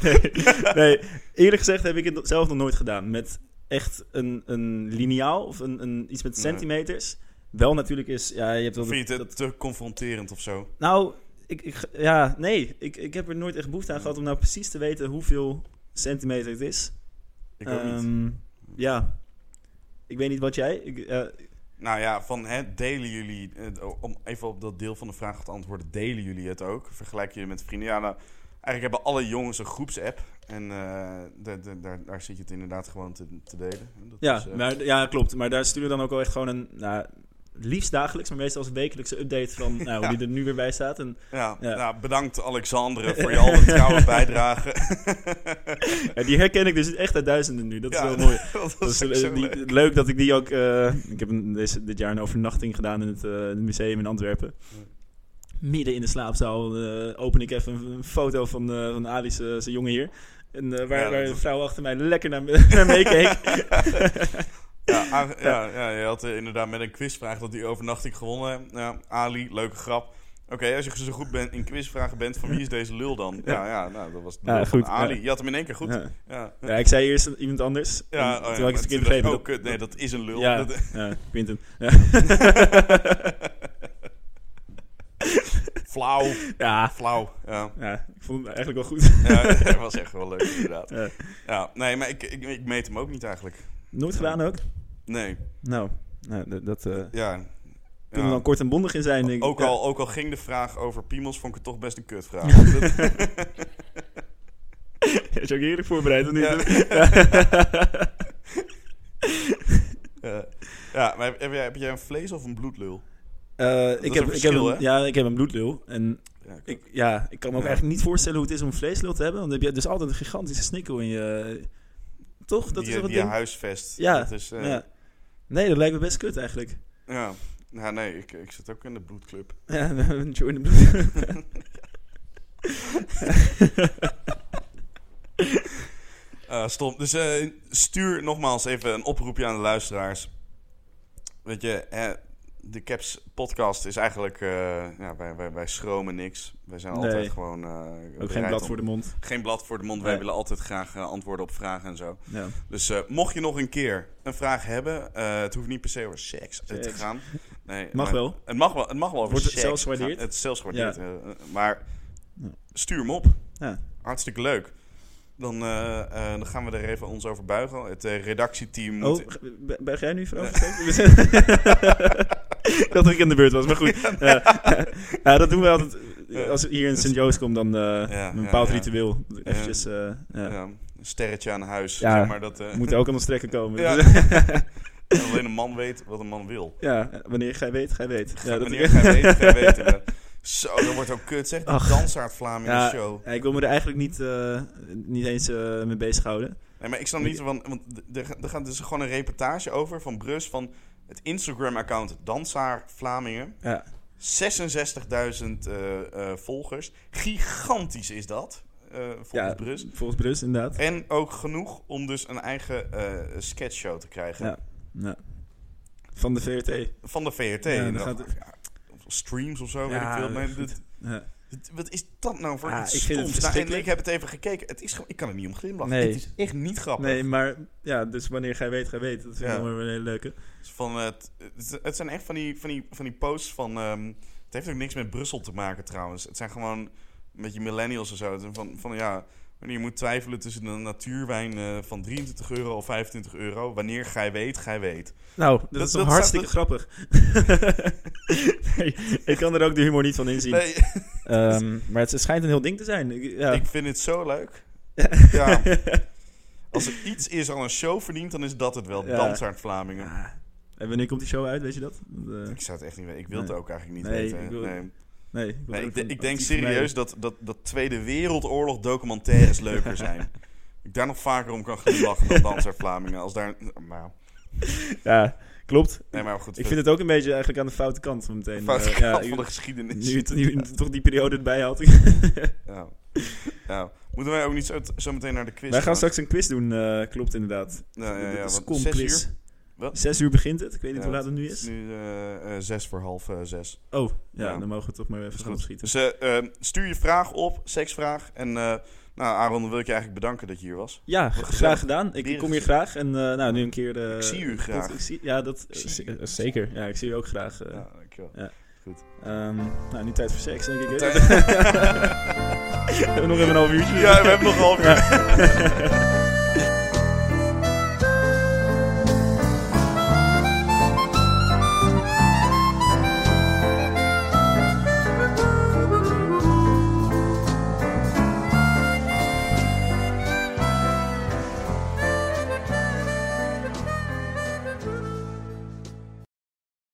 S2: nee, nee, eerlijk gezegd heb ik het zelf nog nooit gedaan. Met echt een, een lineaal of een, een, iets met
S3: Nee.
S2: centimeters. Wel natuurlijk is... Ja, je hebt wel
S3: Vind je
S2: dat-
S3: het te confronterend of zo?
S2: Nou, ik, ik, ja, nee. Ik, ik heb er nooit echt behoefte aan gehad om nou precies te weten hoeveel centimeter het is.
S3: Ik ook niet.
S2: Ehm, Ja. Ik weet niet wat jij... Ik, eh,
S3: Nou ja, van hè, delen jullie, eh, om even op dat deel van de vraag te antwoorden, delen jullie het ook? Vergelijk jullie met vrienden? Ja, nou, eigenlijk hebben alle jongens een groepsapp. En eh, daar- daar- daar, daar zit je het inderdaad gewoon te, te delen. Dat
S2: ja,
S3: is, eh,
S2: maar, ja, klopt. Maar daar sturen we dan ook wel echt gewoon een... Nou, het liefst dagelijks, maar meestal als wekelijkse update van nou, hoe die er nu weer bij staat. En
S3: Ja,
S2: Ja.
S3: Nou, bedankt Alexandre voor je alle trouwe bijdrage.
S2: ja, die herken ik dus echt uit duizenden nu. Dat is
S3: Ja,
S2: wel mooi.
S3: dat
S2: Dat is,
S3: is ook
S2: eh,
S3: zo
S2: die-
S3: leuk.
S2: leuk. dat ik die ook. eh, ik heb een, deze- dit jaar een overnachting gedaan in het eh, het museum in Antwerpen. Midden in de slaapzaal eh, open ik even een, een foto van, eh van Ali, zijn zijn jongen hier. En, eh, waar,
S3: Ja, dat
S2: waar
S3: is-
S2: een vrouw achter mij lekker naar, me- naar meekeek. eh.
S3: Ja, A- ja, ja, je had eh, inderdaad met een quizvraag dat die overnachting gewonnen. Ja, Ali, leuke grap. Oké, als je zo goed bent in quizvragen bent, van wie is deze lul dan? Ja, ja nou, dat was de
S2: Ja,
S3: lul van
S2: goed,
S3: Ali.
S2: ja.
S3: Je had hem in één keer goed. Ja,
S2: Ja.
S3: ja.
S2: Ja, ik zei eerst iemand anders. en
S3: oh ja,
S2: toen had
S3: maar
S2: ik het verkeerd
S3: toen dacht
S2: begrepen.
S3: ik, oh, kut, nee, dat is een lul.
S2: Ja,
S3: Dat-
S2: ja, Quinten. Ja.
S3: Flauw,
S2: ja,
S3: flauw. Ja.
S2: ja, ik vond hem eigenlijk wel goed.
S3: ja, dat was echt wel leuk inderdaad.
S2: Ja.
S3: Ja, nee, maar ik, ik, ik meet hem ook niet eigenlijk.
S2: Nooit gedaan ook?
S3: Nee,
S2: Nou, nou dat- dat eh kunnen
S3: ja.
S2: we
S3: Ja.
S2: dan kort en bondig in zijn. Denk ik.
S3: Ook
S2: Ja.
S3: al, ook al ging de vraag over piemels, vond ik het toch best een kutvraag. Dat-
S2: Is je ook heerlijk voorbereid of niet?
S3: Ja. Eh, ja, maar heb, heb jij, heb jij een vlees of een bloedlul?
S2: Eh,
S3: is
S2: ik, heb,
S3: een
S2: ik, heb
S3: verschil,
S2: een,
S3: hè?
S2: ja, ik heb een bloedlul. En
S3: Ja, ik-
S2: ik, ja, ik kan me ook
S3: Ja.
S2: eigenlijk niet voorstellen hoe het is om een vleeslul te hebben. Want dan heb je dus altijd een gigantische snikkel in je... eh, Toch? Dat
S3: die,
S2: is wat
S3: die
S2: ding.
S3: huisvest.
S2: Ja,
S3: Dat is, eh, ja.
S2: Ja. Nee, dat lijkt me best kut eigenlijk.
S3: ja. nee, ik, ik zit ook in de bloedclub.
S2: Ja, join the bloed.
S3: Eh, stom. Dus eh, stuur nogmaals even een oproepje aan de luisteraars. Weet je, eh, de Caps podcast is eigenlijk... eh, ja, wij, wij, wij schromen niks. Wij zijn
S2: Nee.
S3: altijd gewoon... eh,
S2: Ook geen
S3: bereid
S2: blad
S3: om-
S2: voor de mond.
S3: geen blad voor de mond. Wij
S2: Nee.
S3: willen altijd graag eh, antwoorden op vragen en zo.
S2: Ja.
S3: Dus eh, mocht je nog een keer een vraag hebben, eh, het hoeft niet per se over seks, eh, te
S2: Seks.
S3: gaan. Nee,
S2: Mag
S3: maar-
S2: wel.
S3: Het mag wel, het mag wel over
S2: Wordt het
S3: seks
S2: zelfs
S3: gaan.
S2: gewaardeerd?
S3: Het is zelfs gewaardeerd.
S2: Ja.
S3: eh, eh, maar
S2: Ja.
S3: stuur hem op.
S2: Ja.
S3: Hartstikke leuk. Dan, eh, eh, dan gaan we er even ons over buigen. Het eh, redactieteam moet...
S2: Oh, b- ben jij nu vooral gesteld? Ik dacht dat ik in de buurt was, maar goed. Eh, ja, dat doen we altijd. Als ik hier in Sint-Joost kom, dan eh,
S3: Dus- ja,
S2: een bepaald
S3: ja.
S2: ritueel. Eventjes, eh, ja.
S3: ja, een sterretje aan huis.
S2: Ja.
S3: Zeg maar dat, eh,
S2: Moet ook aan ons trekken komen.
S3: Ja.
S2: Dus,
S3: alleen een man weet wat een man wil.
S2: ja, wanneer gij weet, gij weet. Ja, dat-
S3: Wanneer gij weet, gij weet. inderdaad. Zo, dat wordt ook kut. Zeg, die
S2: Ach.
S3: dansaard Vlaam in
S2: Ja,
S3: de show.
S2: ja, ik wil me er eigenlijk niet, eh, niet eens eh, mee bezighouden.
S3: Nee, maar ik snap niet, want, want er, er gaat dus gewoon een reportage over van Brus van het Instagram-account Dansaar Vlamingen.
S2: Ja.
S3: 66.000 eh, eh, volgers. Gigantisch is dat, eh, volgens
S2: Ja.
S3: Brus.
S2: Volgens Brus, inderdaad.
S3: En ook genoeg om dus een eigen eh, sketchshow te krijgen.
S2: Ja. Ja. Van de VRT.
S3: Van de VRT.
S2: Ja, dan
S3: En dan-
S2: gaat het-
S3: ja, of streams of zo,
S2: Ja,
S3: weet ik veel. Maar
S2: goed.
S3: dit-
S2: Ja.
S3: dit- wat is dat nou voor
S2: Ja,
S3: iets
S2: ik vind het
S3: stoms? Nou, en
S2: verschrikkelijk.
S3: ik heb het even gekeken. Het is, gewoon- ik kan er niet om glimlachen.
S2: Nee.
S3: Het is echt niet grappig.
S2: Nee, maar ja, dus wanneer gij weet, gij weet. Dat vind ik
S3: Ja.
S2: wel weer een hele leuke.
S3: Dus Van het, het- het zijn echt van die, van die, van die posts van... ehm, het heeft ook niks met Brussel te maken trouwens. Het zijn gewoon een beetje millennials en zo. Het zijn Van, van ja, wanneer je moet twijfelen tussen een natuurwijn eh, van 23 euro of 25 euro. Wanneer gij weet, gij weet.
S2: Nou, dat,
S3: Dat-
S2: is toch
S3: dat
S2: hartstikke grappig. nee, ik kan er ook de humor niet van inzien.
S3: Nee,
S2: Ehm, maar het schijnt een heel ding te zijn. Ik- Ja,
S3: ik vind het zo leuk. Ja. Als er iets is aan een show verdient, dan is dat het wel.
S2: Ja.
S3: Dansaard Vlamingen.
S2: Ah. En wanneer komt die show uit, weet je dat? Eh,
S3: Ik zou het echt niet weten. Ik wil het
S2: Nee.
S3: ook eigenlijk niet
S2: Nee,
S3: weten.
S2: ik wil-
S3: nee.
S2: nee, ik, wil
S3: Nee,
S2: ook
S3: ik, de-
S2: een
S3: ik denk
S2: actief vermijden.
S3: serieus dat, dat, dat Tweede Wereldoorlog documentaires leuker zijn. Ik daar nog vaker om kan glimlachen dan Danser Vlamingen. Als daar, maar,
S2: Ja, klopt.
S3: nee, maar goed.
S2: Ik vind het ook een beetje eigenlijk aan de foute kant van meteen.
S3: fout
S2: Eh, ja,
S3: van de
S2: u-
S3: geschiedenis.
S2: nu het- nu het toch die periode erbij had.
S3: Ja. Ja. Moeten wij ook niet zo, zo meteen naar de quiz
S2: Wij gaan straks een quiz doen, eh, klopt inderdaad.
S3: Nou Ja, ja, ja,
S2: dat is
S3: want
S2: kom
S3: zes
S2: quiz.
S3: uur? Wat?
S2: Zes uur begint het. Ik weet niet
S3: Ja,
S2: hoe laat het nu
S3: Het is
S2: is.
S3: nu eh, eh, zes voor half eh, zes.
S2: Oh, ja,
S3: Ja.
S2: dan mogen we toch maar even gaan opschieten.
S3: Dus eh, eh, stuur je vraag op, seksvraag. En eh, nou, Aaron, dan wil ik je eigenlijk bedanken dat je hier was.
S2: Ja,
S3: gezellig.
S2: graag gedaan. Ik
S3: Weer
S2: kom hier
S3: gezien.
S2: graag. En eh, nou, nu een keer... eh,
S3: Ik zie u graag.
S2: dat- ik zie, ja, dat...
S3: Ik zie u.
S2: eh, zeker. Ja, ik zie u ook graag. eh.
S3: Ja, dankjewel.
S2: Ehm, nou, nu tijd voor seks, denk ik. hè?
S3: Tijd-
S2: we hebben nog even een half uurtje.
S3: Ja, we hebben nog een half uur.